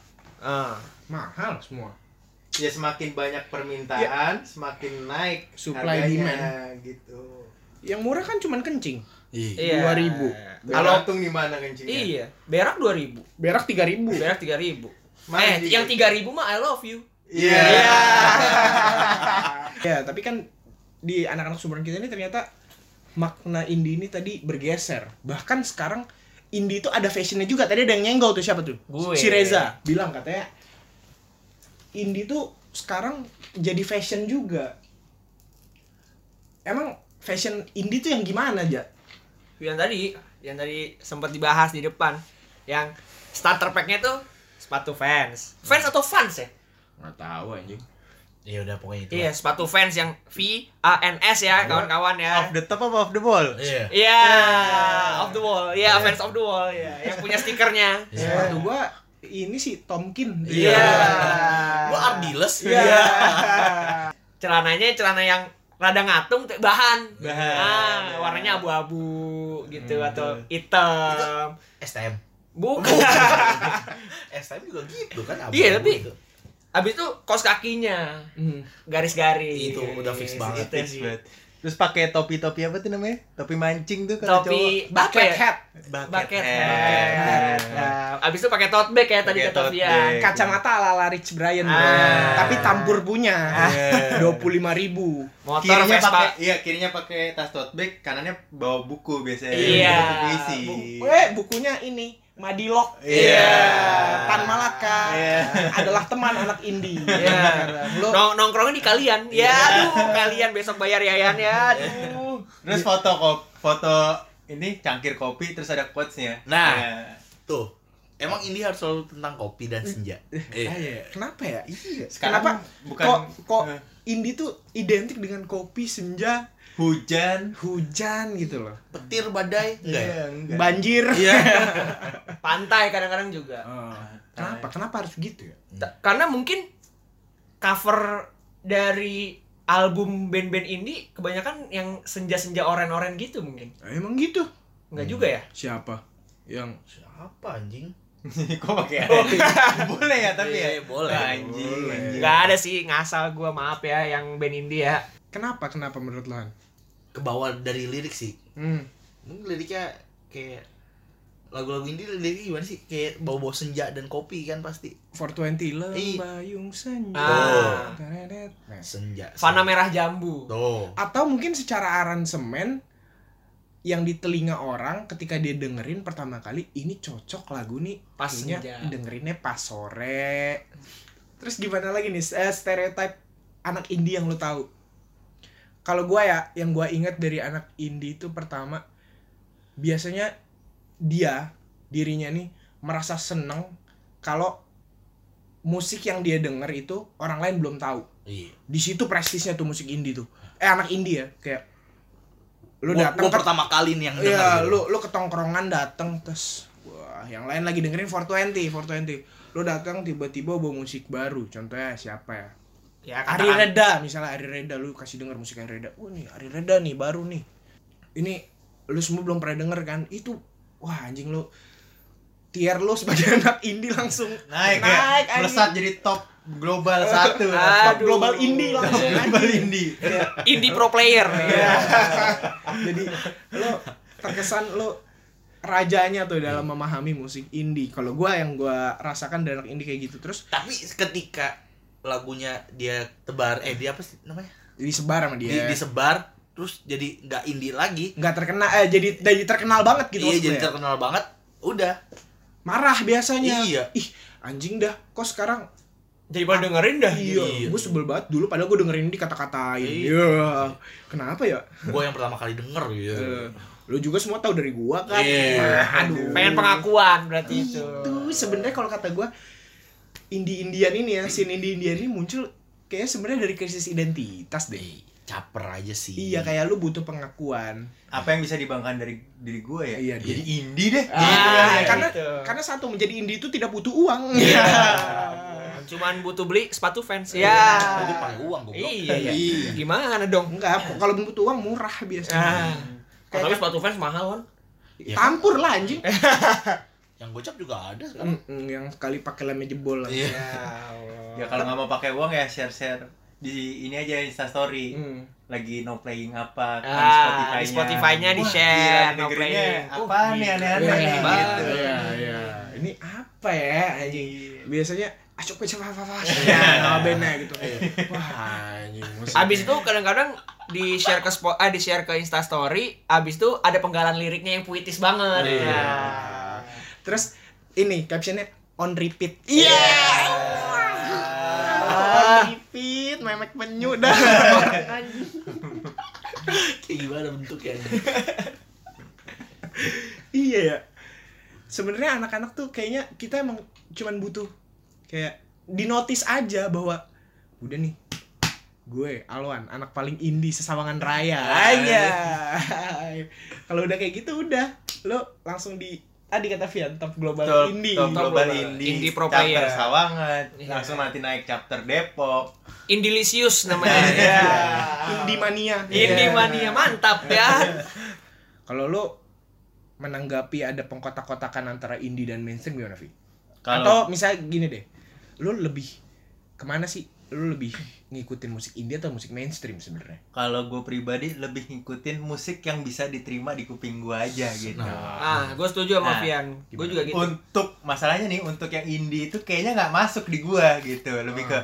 Ah.
mahal semua.
Ya semakin banyak permintaan, semakin naik
Supply harganya,
gitu.
Yang murah kan cuman kencing.
Iya.
Iya.
2000.
Kalau
di mana kencingnya?
iya, berak 2000,
Berak 3000.
berak 3000.
Mahal
Eh,
juga.
yang 3000 mah I love you.
Iya.
ya, tapi kan di anak-anak sumberan kita ini ternyata makna indie ini tadi bergeser. Bahkan sekarang indie itu ada fashionnya juga. Tadi ada yang nyenggol tuh siapa tuh?
Gue.
Si Reza bilang katanya indie tuh sekarang jadi fashion juga. Emang fashion indie tuh yang gimana aja?
yang tadi yang tadi sempat dibahas di depan yang starter packnya tuh sepatu fans fans atau fans ya
Nggak tahu anjing.
ya udah pokoknya itu
Iya, sepatu fans yang V A N S ya, kawan-kawan ya.
Off the top apa off the ball?
lah. iya
Iya, off the wall. Iya, fans of the wall ya, yang punya stikernya.
Iya.
Sepatu gua ini sih Tomkin.
Iya.
gua ardiles
Iya.
Celananya celana yang rada ngatung te- bahan.
Bahan.
Ah, warnanya abu-abu gitu atau hitam.
STM
Bukan.
STM juga gitu kan abu-abu
Iya, tapi-
gitu.
Habis itu kaos kakinya
Hmm.
garis-garis.
Itu udah fix banget.
Itu
Fix
sih.
banget. Terus pakai topi-topi apa tuh namanya? Topi mancing tuh kalau cowok.
Topi apa
Bucket
ya?
hat,
Bucket,
Bucket
hat.
hat.
Iya.
Nah, Abis itu pakai tote bag ya tadi
Pakai
kata
tote
Fian.
bag.
kacamata ala-ala Rich Brian. bro.
Ah.
Tapi tampur punya.
Iya.
25 ribu.
Motor
Kirinya
Vespa.
pakai iya, kirinya pakai tas tote bag, kanannya bawa buku biasanya.
Iya.
Buku puisi.
Bu- eh, bukunya ini Madilog.
Iya.
Tan Malaka. Adalah teman anak indie.
Iya.
Lo
Nong nongkrongnya di kalian. Ya aduh, kalian besok bayar yayan ya. Aduh.
Terus foto kop- foto ini cangkir kopi terus ada quotes-nya.
Nah.
Iya.
tuh emang ini harus selalu tentang kopi dan senja
Ah,
eh
iya. Kenapa ya? Iya.
Sekarang
Kenapa
bukan
kok kok
eh,
indie tuh identik dengan kopi, senja,
hujan
hujan gitu loh.
petir badai enggak ya?
Iya, enggak.
Banjir.
Pantai kadang-kadang juga.
Oh, kenapa? Kenapa harus gitu ya?
Ta- Karena mungkin cover dari album band-band ini kebanyakan yang senja-senja oren-oren gitu mungkin.
Emang gitu.
Enggak juga ya?
Siapa? Yang
siapa anjing
kok pakai
Oh.
Oh, boleh ya tapi ya
Iya, boleh.
anjing
Boleh.
anjing.
Enggak Iya. ada sih ngasal gua maaf ya yang band India.
kenapa? Kenapa menurut lo? Han?
kebawa dari lirik sih
Hmm.
Mungkin liriknya kayak lagu-lagu indie liriknya gimana sih kayak bau-bau senja dan kopi kan pasti
420
Ih.
lembayung senja.
Ah.
Teredet. Nah.
Ya, senja
Fana merah jambu.
tuh
Atau mungkin secara aransemen yang di telinga orang ketika dia dengerin pertama kali ini cocok lagu nih
Pas
kayaknya
senja.
dengerinnya pas sore terus gimana lagi nih eh, stereotype anak indie yang lo tahu kalau gua ya yang gua ingat dari anak indie itu pertama biasanya dia dirinya nih merasa seneng kalau musik yang dia denger itu orang lain belum tahu
iya
di situ prestisnya tuh musik indie tuh eh anak indie ya kayak lu
lu kan-
datang ke
pertama kali nih yang denger
iya
gitu.
lu lu ketongkrongan datang terus wah yang lain lagi dengerin 420 420 lu datang tiba-tiba bawa musik baru contohnya siapa ya
Ya
Ari
katakan-
Reda misalnya Ari Reda lu kasih denger musik Ari Reda wah nih Ari Reda nih baru nih ini lu semua belum pernah denger kan itu wah anjing lu tier lu sebagai anak indie langsung
naik ya
anjing.
melesat jadi top global satu
Aduh.
Top global indie
top
langsung
global
anjing.
indie
Kayak,
indie pro player.
Iya. eh, Jadi lo terkesan lo rajanya tuh dalam memahami musik indie. Kalau gua yang gua rasakan dari anak indie kayak gitu terus
tapi ketika lagunya dia tebar eh dia apa sih namanya
disebar sama
Di-
dia.
disebar terus jadi nggak indie lagi
nggak terkenal eh jadi jadi terkenal banget gitu
iya
maksudnya.
jadi terkenal banget udah
Marah biasanya.
Iya.
Ih, anjing dah. Kok sekarang
Jadi pada dengerin dah.
iya,
Iya.
gue sebel banget dulu padahal gue dengerin ini kata-katain.
Iya.
Iya. Kenapa ya?
gue yang pertama kali denger gitu
Eh, Lo juga semua tahu dari gua kan.
Iya.
Ah, Aduh.
Pengen pengakuan berarti itu.
Iya. itu sebenarnya kalau kata gua indie Indian ini ya scene indie Indian ini muncul kayaknya sebenarnya dari krisis identitas deh
Ih, caper aja sih
iya kayak lu butuh pengakuan
apa yang bisa dibanggakan dari diri gue ya
Iya,
jadi indie deh
Ah,
Iya, karena
gitu.
karena satu menjadi indie itu tidak butuh uang
Cuman butuh beli sepatu fans.
gue
Ya.
pakai uang gue
Iya, iya. Gimana dong?
enggak kalau butuh uang murah biasanya
Ah. Tapi sepatu fans mahal kan?
Iya.
tampur lah anjing
yang gocap juga ada sekarang
Mm-mm, Eh, mm, yang sekali pakai lemnya jebol lah
Iya.
ya kalau nggak mau pakai uang ya share share di ini aja instastory
Mm.
Lagi
no playing apa kan
Hmm. Ah,
Spotify-nya.
di Spotify-nya
Wah,
di-share,
gila,
no
dengerinnya
playing.
apa
Oh,
nih
gila.
Iya,
aneh-aneh
Keren
iya,
gitu
iya, iya. ini apa ya anjing biasanya "Ah, acok pecah apa apa nah benar gitu wah anjing musik.
Abis itu kadang-kadang di share ke spot, ah, di share ke Insta Story, abis itu ada penggalan liriknya yang puitis banget.
Iya.
Ya.
Terus ini captionnya on repeat. Iya.
Iya.
On repeat, memek penyu dah.
Nah.
kayak gimana bentuknya
iya ya. Sebenarnya anak-anak tuh kayaknya kita emang cuman butuh kayak di notice aja bahwa udah nih gue Alwan anak paling indie sesawangan raya
Aja.
kalau udah kayak gitu udah lo langsung di tadi kata Fian top global
Top,
indie
top global
global.
indie,
Indie pro
chapter
player.
Sawangan,
Iya.
langsung nanti naik chapter Depok.
Indilicious namanya.
Iya.
indie mania Iya.
Ini mania mantap ya.
kalau lo menanggapi ada pengkotak-kotakan antara indie dan mainstream gimana Vi? Atau
Kalau
misalnya gini deh, lo lebih kemana sih? Lo lebih ngikutin musik indie atau musik mainstream sebenarnya?
kalau gue pribadi lebih ngikutin musik yang bisa diterima di kuping gue aja gitu.
Ah, gue setuju
Nah,
sama Fian. Gue
gimana?
juga gitu.
Untuk masalahnya nih untuk yang indie itu kayaknya nggak masuk di gua gitu. Lebih ke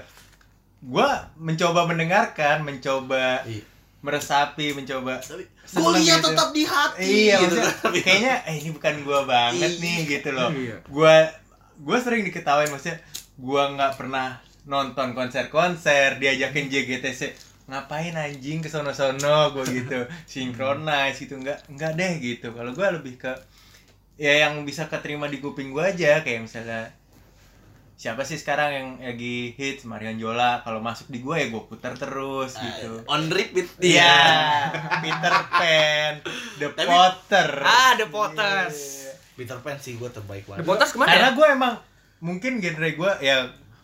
gua mencoba mendengarkan, mencoba
Iya.
meresapi, mencoba
Tapi
seneng
Gua lihat
gitu.
tetap di hati.
Iya,
gitu.
maksudnya kayaknya eh ini bukan gua banget nih gitu loh.
Iya.
Gua gua sering diketawain maksudnya gua nggak pernah nonton konser-konser, diajakin JGTC ngapain anjing ke sono-sono gua gitu. Synchronize gitu enggak enggak deh gitu. Kalau gua lebih ke ya yang bisa keterima di kuping gua aja kayak misalnya siapa sih sekarang yang lagi hits Marion Jola kalau masuk di gua ya gua putar terus gitu.
Ah, on repeat
Iya, Peter Pan, The
Tapi-
Potter.
Ah, The Potters.
Iya.
Peter Pan sih gua terbaik banget.
The Potters kemana
Karena
ya?
gue emang mungkin genre gue ya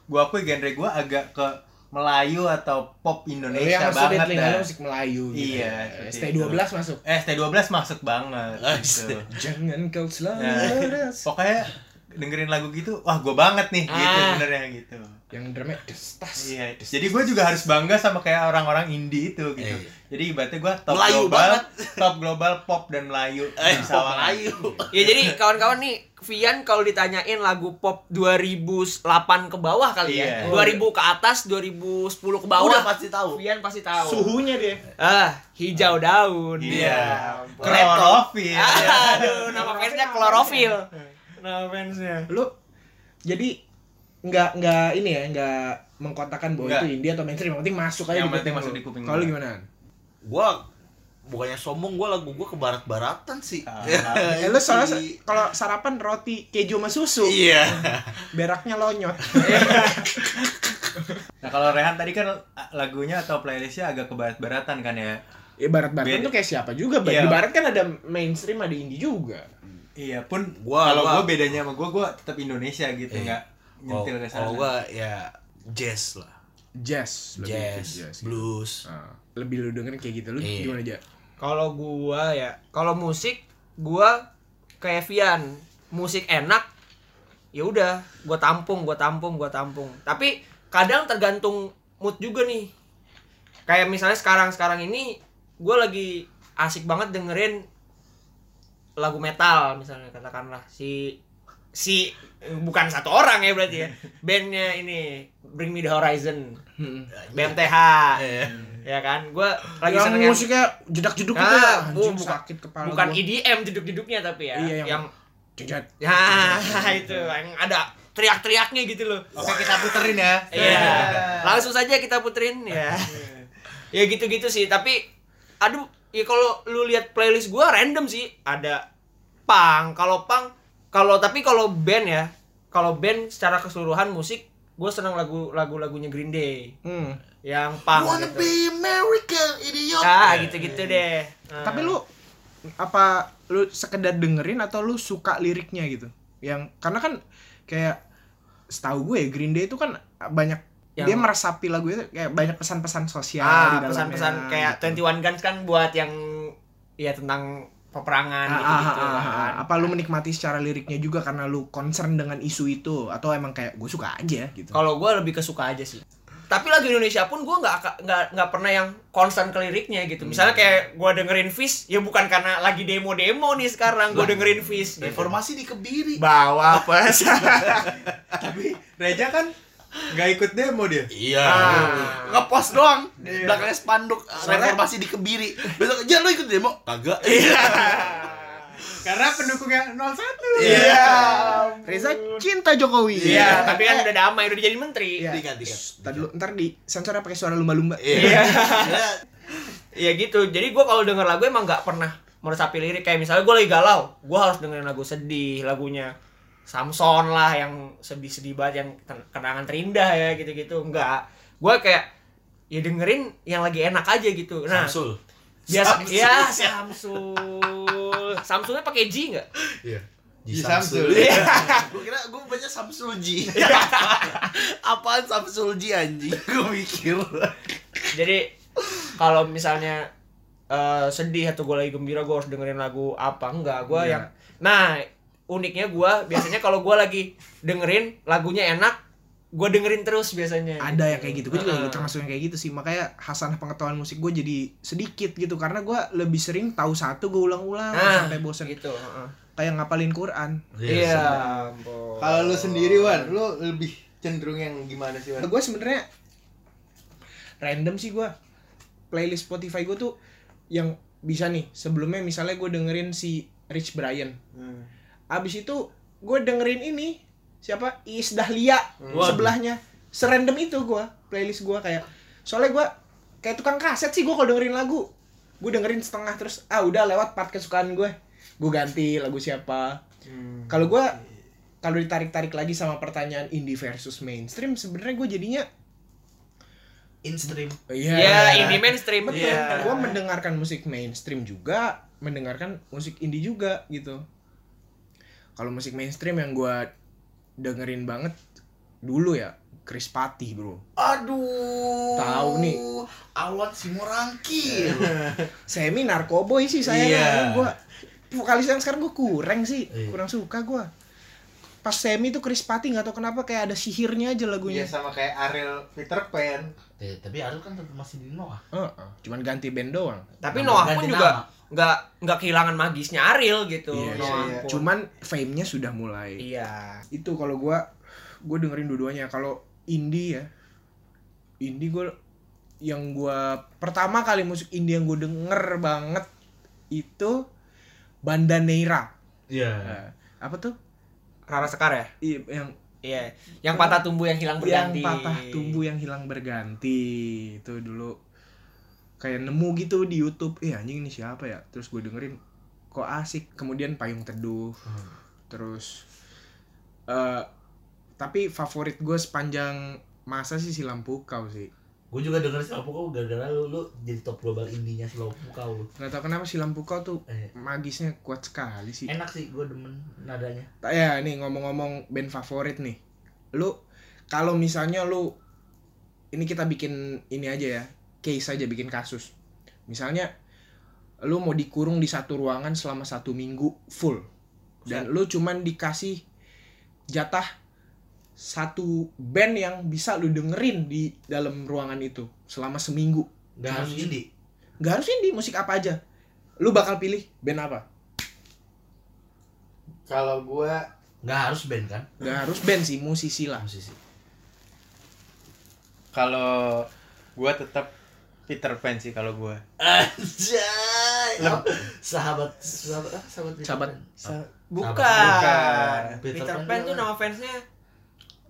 gue akui genre gue agak ke Melayu atau
Lo
pop
yang
Indonesia
masuk di
banget
Iya, telinga lo
dah.
musik Melayu gitu.
Iya,
ya.
seperti
ST12
itu.
masuk.
Eh, ST12 masuk banget
Ah,
gitu.
Jangan kau selalu
Ya.
leras.
Pokoknya dengerin lagu gitu, wah gue banget nih gitu
Ah.
sebenarnya gitu.
Yang drumnya destas.
Iya. Jadi gue juga harus bangga sama kayak orang-orang indie itu gitu.
Iya.
Jadi ibaratnya gue top
Melayu
global,
banget.
top global pop dan Melayu.
Eh,
Di
pop
Sawangan.
Melayu.
Ya jadi kawan-kawan nih Vian kalau ditanyain lagu pop 2008 ke bawah kali
Iya.
ya. 2000 ke atas, 2010 ke bawah. Iya.
Udah pasti tahu.
Vian pasti tahu.
Suhunya dia.
Ah, hijau daun.
Iya.
ampun.
Klorofil.
Ah, Aduh, nama fansnya klorofil. Nama fansnya.
Lo jadi nggak nggak ini ya nggak mengkotakkan bahwa
Nggak.
itu indie atau mainstream yang penting masuk aja
Yang
di
penting
kuping
masuk
lo.
di kuping
kalau
gue.
lo gimana
Gua bukannya sombong gua lagu gua ke barat-baratan sih.
Ah.
Eh, lu soalnya
Iya.
sa- kalau sarapan roti keju sama susu,
Iya.
beraknya lonyot.
Nah kalau Rehan tadi kan lagunya atau playlistnya agak ke barat-baratan kan ya?
Ya barat-baratan
Beda.
tuh kayak siapa juga, Bang.
Iya.
Di barat kan ada mainstream, ada indie juga.
Iya pun
Gua-
kalau
gua-
gua bedanya sama gua, gua tetap Indonesia gitu
Iya.
nggak nyentil ke sana.
Kalau gua ya jazz lah.
Jazz, lebih ke
Jazz,
gitu.
blues.
Ah, lebih lu dengerin kayak gitu. Lu
Iya.
gimana aja?
Kalau gua ya, kalau musik gua kayak Vian, musik enak ya udah, gua tampung, gua tampung, gua tampung. Tapi kadang tergantung mood juga nih. Kayak misalnya sekarang-sekarang ini gua lagi asik banget dengerin lagu metal misalnya katakanlah si si bukan satu orang ya berarti ya bandnya ini Bring Me The Horizon
Hmm.
BMTH
Iya.
ya kan gue lagi
yang
seneng yang-
musiknya jedak-jeduk gitu. Ah, anjing
Ah, bu- bukan-
sakit kepala.
bukan E
gua.
IDM jeduk-jeduknya tapi ya
Iya, yang-
yang,
Jedat.
ya itu yang ada teriak-teriaknya gitu loh
Oke kita puterin ya.
Iya. Langsung saja kita puterin
Iya.
ya. ya gitu-gitu sih, tapi aduh, ya kalau lu lihat playlist gua random sih. Ada pang, kalau pang kalau tapi kalau band ya, kalau band secara keseluruhan musik gue senang lagu lagu lagunya Green Day
Hmm.
yang pang
Wanna
gitu.
be American idiot.
ah gitu-gitu deh Ah.
Tapi lu apa lu sekedar dengerin atau lu suka liriknya gitu? Yang karena kan kayak setahu gue ya, Green Day itu kan banyak
Yang-
dia meresapi lagu itu kayak banyak pesan-pesan sosial
ah
Ya, di dalamnya,
pesan-pesan kayak
gitu.
21 Guns kan buat yang ya tentang peperangan
Ah, ah,
gitu-gitu
ah, ah,
kan.
ah. apa lu menikmati secara liriknya juga karena lu concern dengan isu itu atau emang kayak gue suka aja gitu
Kalau gue lebih kesuka aja sih. Tapi lagu Indonesia pun gue nggak aka- nggak nggak pernah yang concern ke liriknya gitu.
Hmm.
Misalnya kayak gue dengerin Fish, ya bukan karena lagi demo-demo nih sekarang gue dengerin Fish. Gitu.
Informasi dikebiri.
Bawa apa?
Iya.
Tapi Reja kan nggak ikut demo dia.
Iya.
Ah.
Ngepost doang.
Iya.
Belakangnya spanduk
Soalnya-
reformasi di Kebiri. Besok aja lu ikut demo. Kagak. Iya.
Karena pendukungnya 01.
Iya.
Reza cinta Jokowi
Iya, tapi kan udah damai, udah jadi menteri.
Iya.
Dikat, dikat.
Shh, ntar dulu ntar di sensornya pakai suara lumba-lumba
Iya.
Ya gitu. Jadi gue kalau denger lagu emang nggak pernah meresapi lirik. Kayak misalnya gue lagi galau, gue harus dengerin lagu sedih, lagunya Samson lah yang sedih-sedih banget, yang ten- kenangan terindah ya gitu-gitu. Enggak. Gue kayak ya dengerin yang lagi enak aja gitu nah
Samsul.
biasa
Samsul.
ya Samsul Samsulnya pakai G nggak
Iya.
Ji Samsul.
gue Iya. kira gue baca Samsul Ji. Apaan Samsul Ji anjing? Gue mikir.
jadi kalau misalnya eh, sedih atau gue lagi gembira gue harus dengerin lagu apa
Iya.
enggak gue yang nah uniknya gue biasanya kalau gue lagi dengerin lagunya enak gue dengerin terus biasanya
ada yang kayak gitu gue juga
Heeh.
termasuk yang kayak gitu sih makanya hasanah pengetahuan musik gue jadi sedikit gitu karena gue lebih sering tahu satu gue ulang-ulang
Ah,
sampai bosen
gitu heeh.
kayak ngapalin Quran
iya ampun.
Kalau lu sendiri Wan, lu lebih cenderung yang gimana sih Wan?
gue Nah, sebenarnya random sih gue playlist Spotify gue tuh yang bisa nih sebelumnya misalnya gue dengerin si Rich Brian
Hmm.
abis itu gue dengerin ini siapa Is Dahlia
Waduh.
sebelahnya serandom itu gue playlist gue kayak soalnya gue kayak tukang kaset sih gue kalau dengerin lagu gue dengerin setengah terus ah udah lewat part kesukaan gue gue ganti lagu siapa kalau gue kalau ditarik-tarik lagi sama pertanyaan indie versus mainstream sebenarnya gue jadinya
Instream.
iya
ya ini mainstream
betul
Iya.
gue mendengarkan musik mainstream juga mendengarkan musik indie juga gitu kalau musik mainstream yang gue dengerin banget dulu ya Chris Patti bro
Aduh.
Tahu nih.
Awan Simorangki.
semi narkoboy sih saya
Iya.
gue vokalis yang sekarang gue kurang sih
Iya.
kurang suka gue pas semi tuh Chris Patti nggak tau kenapa kayak ada sihirnya aja
Iya
lagunya
sama kayak Ariel Peter Pan.
Eh, tapi Arul kan tetap masih di Noah.
Heeh, cuman ganti band doang
tapi
Nama
Noah pun
ganti
juga
nama.
nggak nggak kehilangan magisnya Ariel gitu
Iya,
Noah
iya.
pun.
cuman fame-nya sudah mulai
iya
itu kalau gua gue dengerin dua-duanya kalau indie ya indie gue yang gua pertama kali musik indie yang gue denger banget itu Bandaneira
Iya.
Nah, apa tuh
Rara Sekar ya
I- yang
iya yang patah tumbuh yang hilang berganti
yang patah tumbuh yang hilang berganti itu dulu kayak nemu gitu di YouTube eh anjing ini siapa ya terus gue dengerin kok asik kemudian payung teduh terus eh tapi favorit gue sepanjang masa sih silam pukau sih
Gue juga denger Silau Pukau gara-gara lu, lu jadi top global indinya Silau Pukau lu.
nggak tahu kenapa silam pukau tuh
Eh,
magisnya kuat sekali sih
enak sih gue demen nadanya.
Ta- ya nih ngomong-ngomong band favorit nih lu kalau misalnya lu ini kita bikin ini aja ya case aja bikin kasus misalnya lu mau dikurung di satu ruangan selama satu minggu full dan lu cuman dikasih jatah satu band yang bisa lu dengerin di dalam ruangan itu selama seminggu
Gak harus indie.
nggak harus indie musik apa aja lu bakal pilih band apa
Kalau gua
Gak harus band kan?
nggak harus band sih musisi lah
Musisi.
kalau gua tetap Peter Pan sih kalau gua.
Anjay. Apa? Sahabat sahabat ah, sahabat Peter
Sahabat.
Pan.
bukan,
Bukan.
Peter
Peter
Pan
Pan tuh
doang.
nama fansnya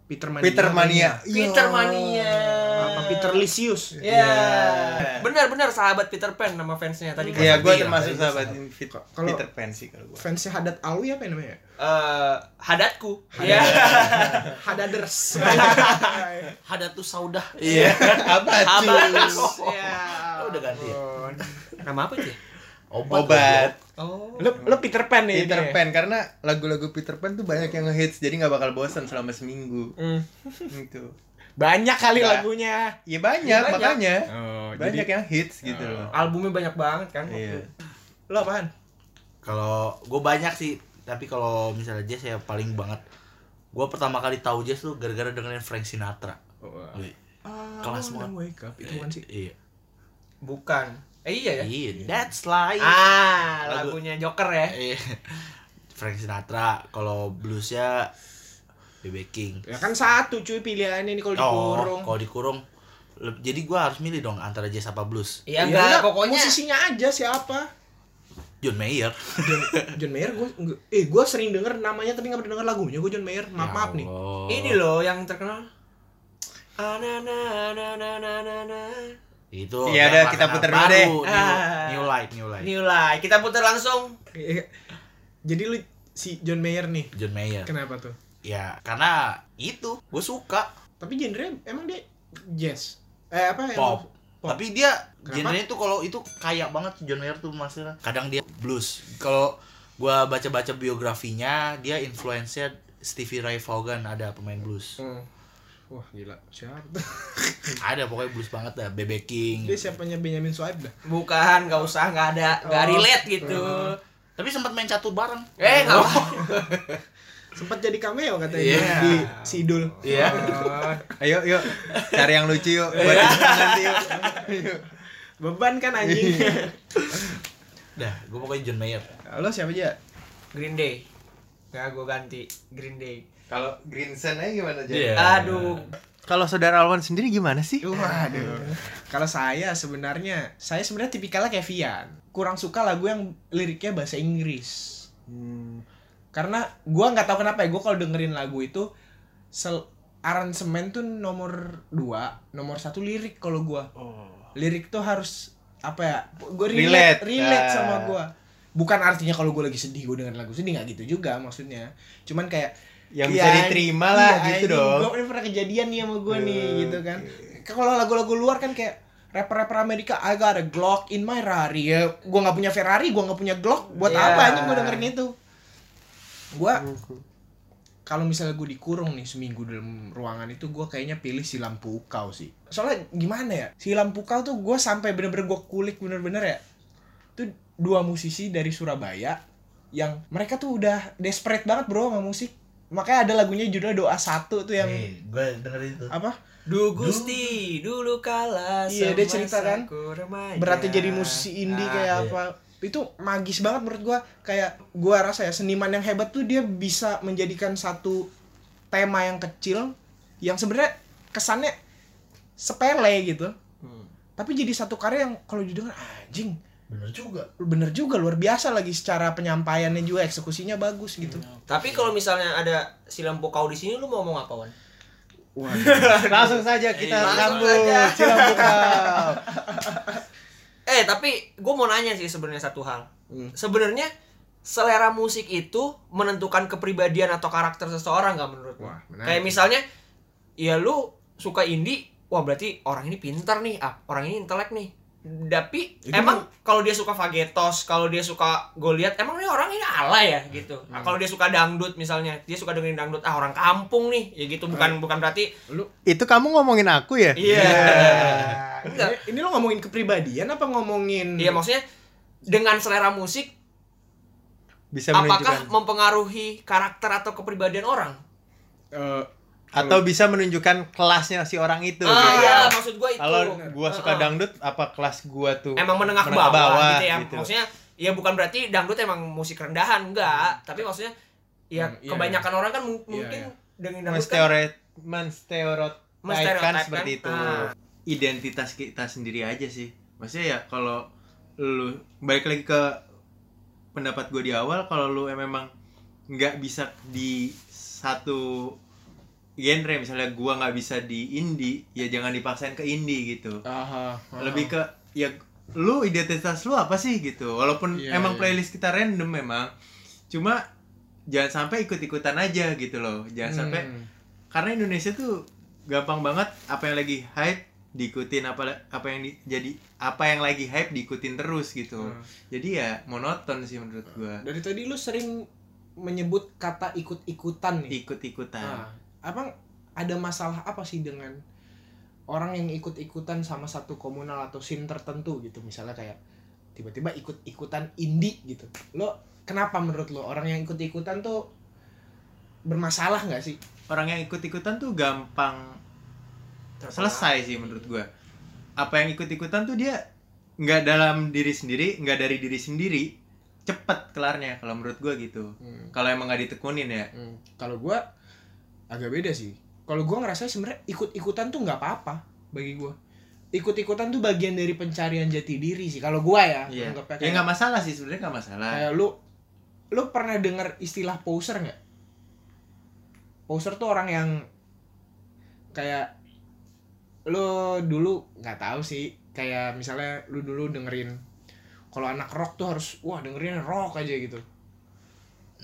Peter Mania
Peter Mania.
Peter Mania
Iya. apa Peter Iya. Lisius
Ya, benar-benar sahabat Peter Pan nama fansnya tadi. kan.
Iya, gua
Iya,
termasuk
iya,
sahabat
sahabat.
Fit-
Kalau-
Peter Pan sih kalau gua.
fansnya Hadat Alwi apa yang namanya
Eh, hadatku.
Iya.
Iya.
Hadaders
Hadatus Saudah.
Iya, apa
Habatku. Iya.
Oh, udah ganti ya?
Nama apa itu? ya?
Obat.
Oh.
lo lo Peter Pan nih
Peter
ini.
Pan karena lagu-lagu Peter Pan tuh banyak yang ngehits jadi nggak bakal bosan selama seminggu
Hmm.
gitu.
banyak kali
Nggak.
lagunya
Iya
Iya,
banyak,
banyak.
makanya
oh,
banyak yang hits gitu loh.
Albumnya banyak banget kan.
Iya.
lo apaan
Kalau gue banyak sih, tapi kalau misalnya jazz ya paling banget. Gue pertama kali tahu jazz tuh gara-gara dengerin Frank Sinatra.
Oh, ah.
Wih,
I
Kelas
wanna
banget.
wake up itu kan sih
Iya.
Bukan. Eh iya ya.
Iya, that's life.
Ah,
Lagu-
lagunya Joker ya.
Iya. Frank Sinatra. Kalau bluesnya BB King.
ya kan satu cuy pilihannya ini kalau dikurung
Oh, kalau dikurung. le- Jadi gue harus milih dong antara jazz apa blues.
Ya
Iya enggak,
udah,
pokoknya
musisinya aja siapa
John Mayer.
John, John Mayer gue eh gue sering denger namanya tapi nggak pernah denger lagunya gue John Mayer
Ya
maaf maaf nih
Ya
ini loh yang terkenal. Ah, na na na na na na na.
Itu. dia
Iya, udah,
makanan
kita puter dulu
baru,
deh.
New,
Ah.
new light, new light.
New Light. Kita putar langsung.
Eh, jadi lu si John Mayer nih
John Mayer.
kenapa tuh
Ya, karena itu gue suka.
tapi genre emang dia jazz eh apa ya?
Pop.
Pop.
Tapi dia
Kenapa?
genre tuh kalau itu kaya banget John Mayer tuh maksudnya. Kadang dia blues. Kalau gua baca-baca biografinya, dia influence-nya Stevie Ray Vaughan ada pemain blues.
Hmm. Wah gila siapa? tuh?
Ada pokoknya blues banget dah, BB King.
Dia siapanya Benjamin Suaib dah.
Bukan, nggak usah, nggak ada, nggak
Oh.
relate gitu.
Hmm. Oh.
Tapi sempat main catur bareng.
Eh, nggak apa.
Sempat jadi cameo katanya
Iya.
di Sidul.
Iya.
Ayo yuk cari yang lucu yuk buat ditonton nanti yuk.
Beban kan anjing.
Dah, gua pokoknya John Mayer.
Lo siapa aja?
Green Day. Nggak, gue ganti Green Day.
Kalau Greensen aja gimana
Ya.
Iya.
Aduh,
Kalau saudara Alwan sendiri gimana sih?
Waduh. Kalau saya sebenarnya, saya sebenarnya tipikalnya kayak Vian. Kurang suka lagu yang liriknya bahasa Inggris.
Hmm.
Karena gua nggak tahu kenapa ya, gua kalau dengerin lagu itu sel aransemen tuh nomor 2, nomor satu lirik kalau gua. Lirik tuh harus apa ya? Gua relate,
Relate.
relate
Ya.
sama gua. Bukan artinya kalau gue lagi sedih gue dengerin lagu sedih nggak gitu juga maksudnya. Cuman kayak
Yang
Ya,
bisa diterima lah
iya, ini
gitu dong. Iya,
Gue pernah kejadian nih sama gue nih
Oke.
gitu kan. Kalau lagu-lagu luar kan kayak rapper-rapper Amerika I got a Glock in my Ferrari. Ya, gue nggak punya Ferrari, gue nggak punya Glock. Buat
Iya.
apa anjing gue dengerin itu? Gue
Mhm.
kalau misalnya gue dikurung nih seminggu dalam ruangan itu gue kayaknya pilih si lampu ukau sih soalnya gimana ya si lampu ukau tuh gue sampai bener-bener gue kulik bener-bener ya itu dua musisi dari Surabaya yang mereka tuh udah desperate banget bro sama musik makanya ada lagunya judulnya doa satu tuh yang
Eh,
Iya.
gua dengerin itu.
apa
Du Gusti dulu kala
Iya, dia cerita
semasa
kan.
ku remaja.
berarti jadi musisi indie
Ah,
kayak
iya.
apa itu magis banget menurut gua kayak gua rasa ya seniman yang hebat tuh dia bisa menjadikan satu tema yang kecil yang sebenarnya kesannya sepele gitu
Hmm.
tapi jadi satu karya yang kalau didengar anjing
Bener juga.
bener juga luar biasa lagi secara penyampaiannya juga eksekusinya bagus gitu
Tapi kalau misalnya ada silam pokau di sini lu mau ngomong apa, Wan?
Langsung saja kita
Langsung
sambut
saja.
silam bukau.
Eh, tapi gue mau nanya sih sebenarnya satu hal.
Hmm.
Sebenarnya selera musik itu menentukan kepribadian atau karakter seseorang nggak menurut lu?
Wah, menarik.
Kayak misalnya ya lu suka indie, wah berarti orang ini pintar nih, ah, orang ini intelek nih. Tapi
Itu
emang kalau dia suka fagetos, kalau dia suka Goliat, emang nih orang ini alay ya gitu.
Hmm.
Ah, kalau dia suka dangdut misalnya, dia suka dengerin dangdut, ah orang kampung nih, ya gitu bukan bukan berarti
lu
Itu kamu ngomongin aku ya?
iya. Enggak.
ini, ini lo ngomongin kepribadian apa ngomongin
Iya maksudnya dengan selera musik
Bisa
apakah
menunjukkan
mempengaruhi karakter atau kepribadian orang?
Eh,
atau bisa menunjukkan kelasnya si orang itu.
ah
gitu.
iya maksud gua itu.
Kalau gua suka
Heeh.
dangdut, apa kelas gua tuh
emang menengah ke bawah, gitu ya. Maksudnya ya bukan berarti dangdut emang musik rendahan enggak, tapi maksudnya ya
Hmm, iya,
kebanyakan orang kan mung-
Iya,
mungkin
iya.
dengan dangdut kan
Menstereot- menstereotipkan
Menstereotipkan,
seperti itu.
ah.
Identitas kita sendiri aja sih. Maksudnya ya kalau lu balik lagi ke pendapat gue di awal kalau lu memang nggak bisa di satu genre misalnya gua nggak bisa di indie ya jangan dipaksain ke indie gitu
aha, aha.
lebih ke ya lu identitas lu apa sih gitu walaupun
Iya,
emang
iya.
playlist kita random memang cuma jangan sampai ikut-ikutan aja gitu loh jangan
Hmm.
sampai karena Indonesia tuh gampang banget apa yang lagi hype diikutin apa apa yang di- jadi apa yang lagi hype diikutin terus gitu
Hmm.
jadi ya monoton sih menurut gua
dari tadi lu sering menyebut kata ikut-ikutan
Iya.
nih
ikut-ikutan
Nah, abang ada masalah apa sih dengan orang yang ikut-ikutan sama satu komunal atau scene tertentu gitu misalnya kayak tiba-tiba ikut-ikutan indie gitu lo kenapa menurut lo orang yang ikut-ikutan tuh bermasalah nggak sih
orang yang ikut-ikutan tuh gampang selesai sih menurut gua apa yang ikut-ikutan tuh dia nggak dalam diri sendiri nggak dari diri sendiri cepet kelarnya kalau menurut gua gitu
Hmm.
kalau emang nggak ditekunin ya
Hmm, kalau gua agak beda sih kalau gua ngerasa sebenarnya ikut-ikutan tuh nggak apa-apa bagi gua ikut-ikutan tuh bagian dari pencarian jati diri sih kalau gua ya
iya
anggapnya
ya
kayak-
nggak masalah sih sebenarnya nggak masalah
Kayak lu lu pernah dengar istilah poser nggak? Poser tuh orang yang kayak lu dulu nggak tahu sih kayak misalnya lu dulu dengerin kalau anak rock tuh harus wah dengerin rock aja gitu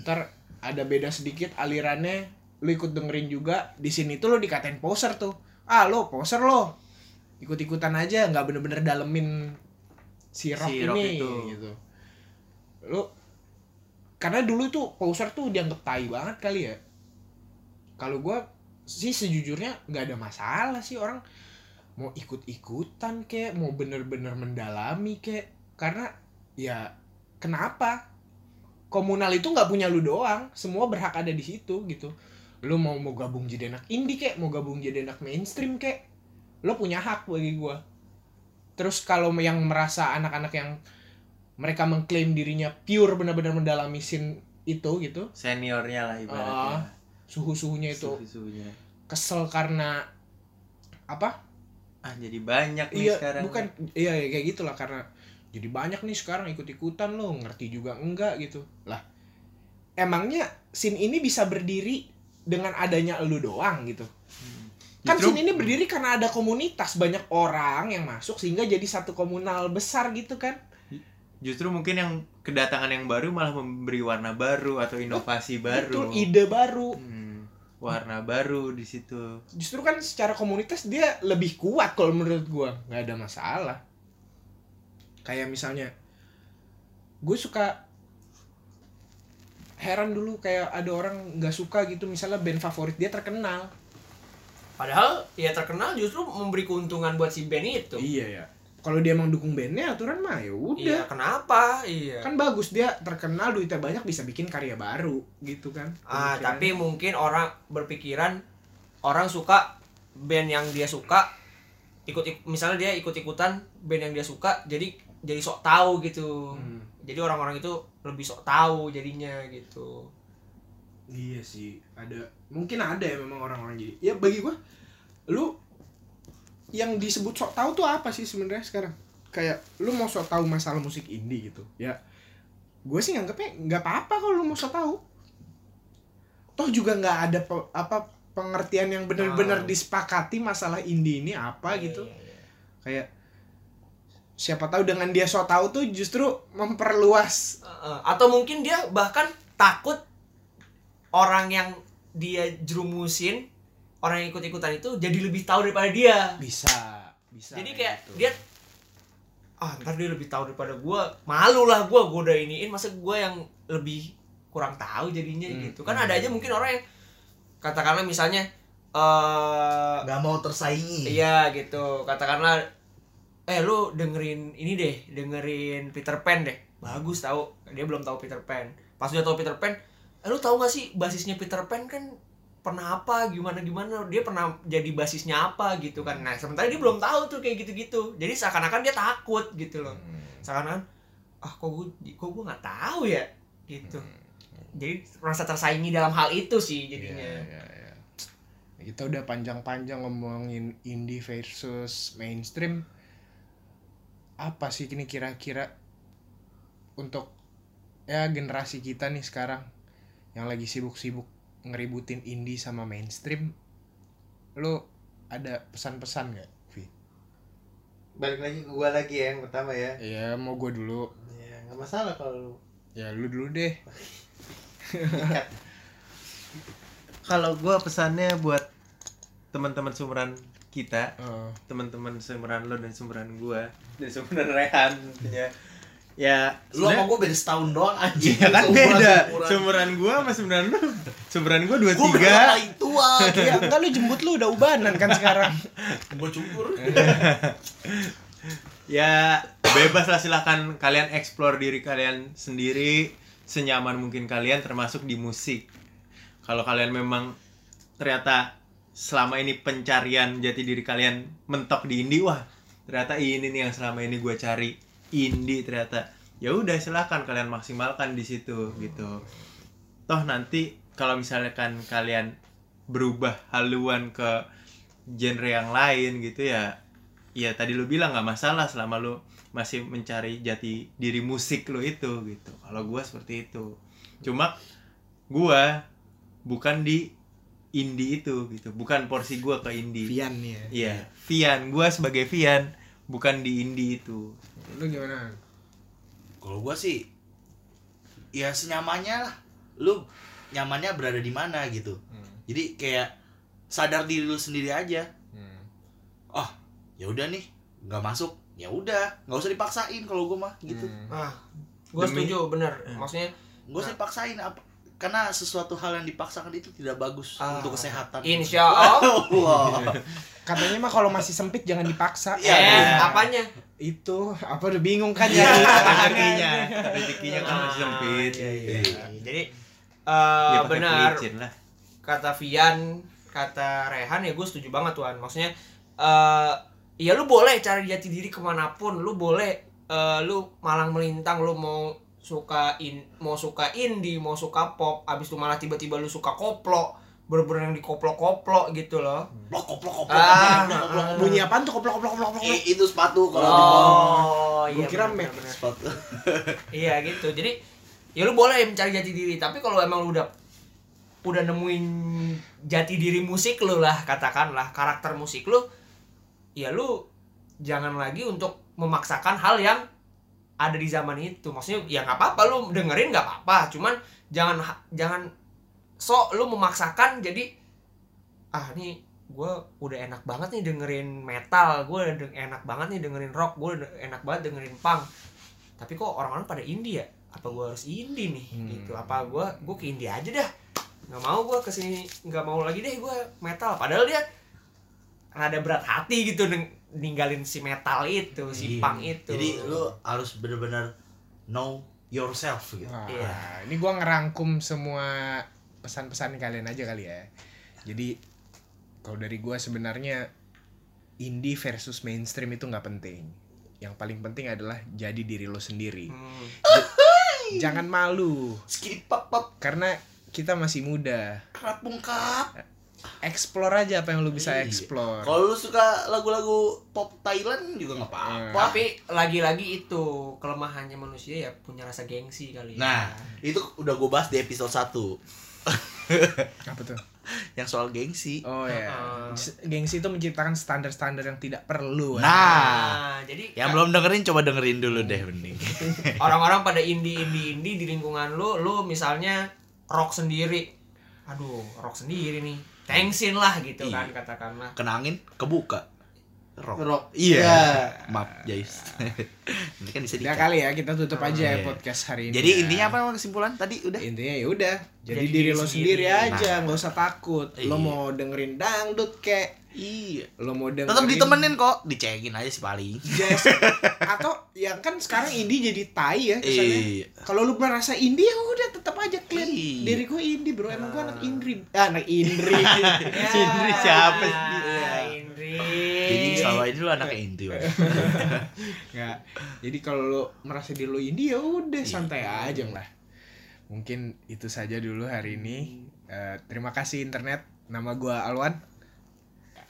ntar ada beda sedikit alirannya lu ikut dengerin juga di sini tuh lu dikatain poser tuh ah lo poser lo ikut-ikutan aja nggak bener-bener dalemin si rock
Si
ini
rock itu.
gitu lu karena dulu tuh poser tuh dianggap tai banget kali ya kalau gua sih sejujurnya nggak ada masalah sih orang mau ikut-ikutan kek mau bener-bener mendalami kek karena ya kenapa komunal itu nggak punya lu doang semua berhak ada di situ gitu lu mau mau gabung jadi anak indie kek mau gabung jadi anak mainstream kek lu punya hak bagi gua terus kalau yang merasa anak-anak yang mereka mengklaim dirinya pure benar-benar mendalami scene itu gitu
seniornya lah ibaratnya
Ah, suhu-suhunya itu
Suhu-suhunya.
kesel karena apa
ah jadi banyak nih
iya
sekarang
bukan iya iya, kayak gitulah karena jadi banyak nih sekarang ikut-ikutan lo ngerti juga enggak gitu lah emangnya scene ini bisa berdiri dengan adanya lu doang gitu kan
Justru-
scene ini berdiri karena ada komunitas banyak orang yang masuk sehingga jadi satu komunal besar gitu kan
justru mungkin yang kedatangan yang baru malah memberi warna baru atau inovasi
Betul,
baru
ide baru
Hmm, warna baru di situ
justru kan secara komunitas dia lebih kuat kalau menurut gua nggak ada masalah kayak misalnya gue suka heran dulu kayak ada orang nggak suka gitu misalnya band favorit dia terkenal
Padahal ya terkenal justru memberi keuntungan buat si band itu.
iya ya kalau dia emang dukung bandnya aturan mah ya
Iya,
udah
kenapa? Iya.
kan bagus dia terkenal duitnya banyak bisa bikin karya baru gitu kan
Ah,
Pemikiran.
tapi mungkin orang berpikiran orang suka band yang dia suka ikut ik- misalnya dia ikut-ikutan band yang dia suka jadi jadi sok tahu gitu.
Hmm.
Jadi orang-orang itu lebih sok tahu jadinya gitu.
Iya sih, ada mungkin ada ya memang orang-orang jadi. Ya bagi gua lu yang disebut sok tahu tuh apa sih sebenarnya sekarang? Kayak lu mau sok tahu masalah musik indie gitu. Ya gue sih nganggapnya nggak apa-apa kalau lu mau sok tahu. Toh juga nggak ada pe- apa pengertian yang benar-benar
Ah.
disepakati masalah indie ini apa
Iya,
gitu.
iya, iya.
Kayak siapa tahu dengan dia sok tahu tuh justru memperluas
Heeh. atau mungkin dia bahkan takut orang yang dia jerumusin, orang yang ikut-ikutan itu jadi lebih tahu daripada dia.
bisa bisa gitu.
Jadi kayak dia ah ntar dia lebih tahu daripada gua malu lah gua gua udah iniin masa gua yang lebih kurang tahu jadinya
Hmm.
gitu kan ada aja mungkin orang yang katakanlah misalnya eh
nggak mau tersaingi
iya gitu katakanlah eh lu dengerin ini deh dengerin Peter Pan deh bagus tahu dia belum tahu Peter Pan pas udah tahu Peter Pan eh, lu tahu gak sih basisnya Peter Pan kan pernah apa gimana gimana dia pernah jadi basisnya apa gitu kan nah sementara dia belum tahu tuh kayak gitu gitu jadi seakan-akan dia takut gitu loh seakan-akan ah kok gue kok gue nggak tahu ya gitu
Hmm.
jadi merasa tersaingi dalam hal itu sih jadinya
Iya, iya, iya. Kita udah panjang-panjang ngomongin indie versus mainstream. Apa sih ini kira-kira untuk ya generasi kita nih sekarang yang lagi sibuk-sibuk ngeributin indie sama mainstream, lo ada pesan-pesan gak? Vi?
balik lagi ke gua lagi ya yang pertama ya
Ya mau gue dulu,
ya nggak masalah kalau lu
ya lu dulu deh.
ikat
kalau gua pesannya buat teman-teman sumuran kita
Eh,
teman-teman sumuran lo dan sumuran gua dan sumuran Rehan tentunya ya
lu sama
sebenarnya-
gua beda setahun doang anjing
Iya kan
Seumuran-
beda
seumuran.
sumuran gua sama sumuran lu sumuran gua dua
gua
tiga
berdua paling tua
ya enggak lu jembut lu udah ubanan kan sekarang.
gua cukur
ya bebas lah silahkan kalian explore diri kalian sendiri senyaman mungkin kalian termasuk di musik kalau kalian memang ternyata selama ini pencarian jati diri kalian mentok di indie wah ternyata ini nih yang selama ini gue cari indie ternyata ya udah silahkan kalian maksimalkan di situ gitu toh nanti kalau misalkan kalian berubah haluan ke genre yang lain gitu ya ya tadi lu bilang nggak masalah selama lu masih mencari jati diri musik lu itu gitu kalau gua seperti itu cuma gua bukan di indie itu gitu bukan porsi gua ke indie
Vian nih ya.
iya Vian gua sebagai Vian bukan di indie itu
Lu gimana?
kalau gua sih ya senyamannya lah lu nyamannya berada di mana
Hmm,
gitu jadi kayak sadar diri lu sendiri aja
Hmm.
oh ya udah nih nggak masuk ya udah nggak usah dipaksain kalau gue mah gitu
Hmm.
ah gue
Demi-
setuju bener maksudnya
nggak usah dipaksain apa karena sesuatu hal yang dipaksakan itu tidak bagus
Ah.
untuk kesehatan
insya Allah
Wah.
Katanya mah kalau masih sempit jangan dipaksa.
Iya.
eh Iya,
Iya.
apanya
Itu apa udah bingung kan ya.
rezekinya rezekinya kan masih sempit
Ah, iya, iya. jadi
Ya,
eh
pakai
benar
pelicin lah
kata Vian kata Rehan ya gue setuju banget tuan maksudnya eh ya lu boleh cari jati diri kemanapun lu boleh eh, lu malang melintang lu mau suka in mau suka indie mau suka pop abis itu malah tiba-tiba lu suka koplo bener-bener yang dikoplo-koplo gitu loh
Plok, plok, plok, plok, plok,
Ah,
plok, plok.
Bunyi apaan tuh koplok koplok koplok. koplok.
Eh, itu sepatu kalau di bawah.
oh
Gua kira
bener,
Mac.
bener.
sepatu
iya gitu jadi ya lu boleh mencari jati diri tapi kalau emang lu udah udah nemuin jati diri musik lu lah katakanlah karakter musik lu ya lu jangan lagi untuk memaksakan hal yang ada di zaman itu maksudnya ya nggak apa-apa lu dengerin nggak apa-apa cuman jangan jangan sok lu memaksakan jadi ah nih gue udah enak banget nih dengerin metal gue udah deng- enak banget nih dengerin rock gue udah enak banget dengerin punk tapi kok orang-orang pada indie ya apa gue harus indie nih
Hmm.
gitu apa gue gue ke indie aja dah nggak mau gue kesini nggak mau lagi deh gue metal padahal dia rada berat hati gitu neng- ninggalin si metal itu
Iya.
si punk itu
jadi lu harus bener-bener know yourself gitu
Nah,
Iya.
ini gua ngerangkum semua pesan-pesan kalian aja kali ya. Jadi kalau dari gua sebenarnya indie versus mainstream itu nggak penting. Yang paling penting adalah jadi diri lo sendiri.
Hmm.
Jangan malu
skip pop pop
karena kita masih muda.
kerap
Nah.
bengkak
Explore aja apa yang lo bisa
Iya.
explore.
kalau lu suka lagu-lagu pop Thailand juga nggak
Iya.
apa-apa
tapi lagi-lagi itu kelemahannya manusia ya punya rasa gengsi kali ya.
nah itu udah gue bahas di episode 1
Apa tuh?
yang soal gengsi
Oh ya.
Heeh.
S- Gengsi itu menciptakan standar-standar yang tidak perlu. ya.
nah
Nah, jadi
yang belum dengerin coba dengerin dulu deh mending
orang-orang pada indie indie indie di lingkungan lu lu misalnya rock sendiri aduh rock sendiri nih thanksin lah gitu kan
Iya.
katakanlah
kenangin kebuka rock
Rock.
iya maaf guys nanti kan bisa
Udah
di
kali ya kita tutup aja ya
Iya.
podcast hari ini.
jadi
ya.
intinya apa emang kesimpulan tadi udah
intinya ya udah jadi,
Jadi
diri
diri
lo
sendiri.
sendiri, aja nggak usah takut lo
Nah. Iya.
mau dengerin dangdut kek
iya
lo mau dengerin
tetap ditemenin kok dicengin aja sih paling
jazz atau ya kan sekarang indie jadi tai ya kesannya
iya
kalau lu merasa indie ya udah tetap aja clear
Iya.
diri gue indie bro emang gue anak indri ah, anak indri
Indri siapa sih?
Ya, Indri
Iya. jadi selama ini lu anak inti
Nggak. jadi kalau lo merasa diri lo indie ya udah
Iya.
santai aja lah mungkin itu saja dulu hari ini Eh, terima kasih internet nama gue Alwan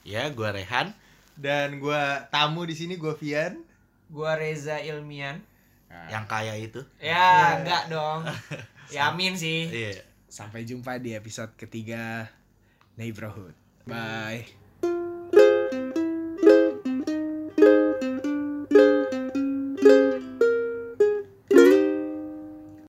ya gue Rehan
dan gua tamu di sini gua Vian
gua Reza Ilmian
Nah,
yang kaya itu
ya enggak dong Yamin sih
iya
Sampai jumpa di episode ketiga Neighborhood. Bye.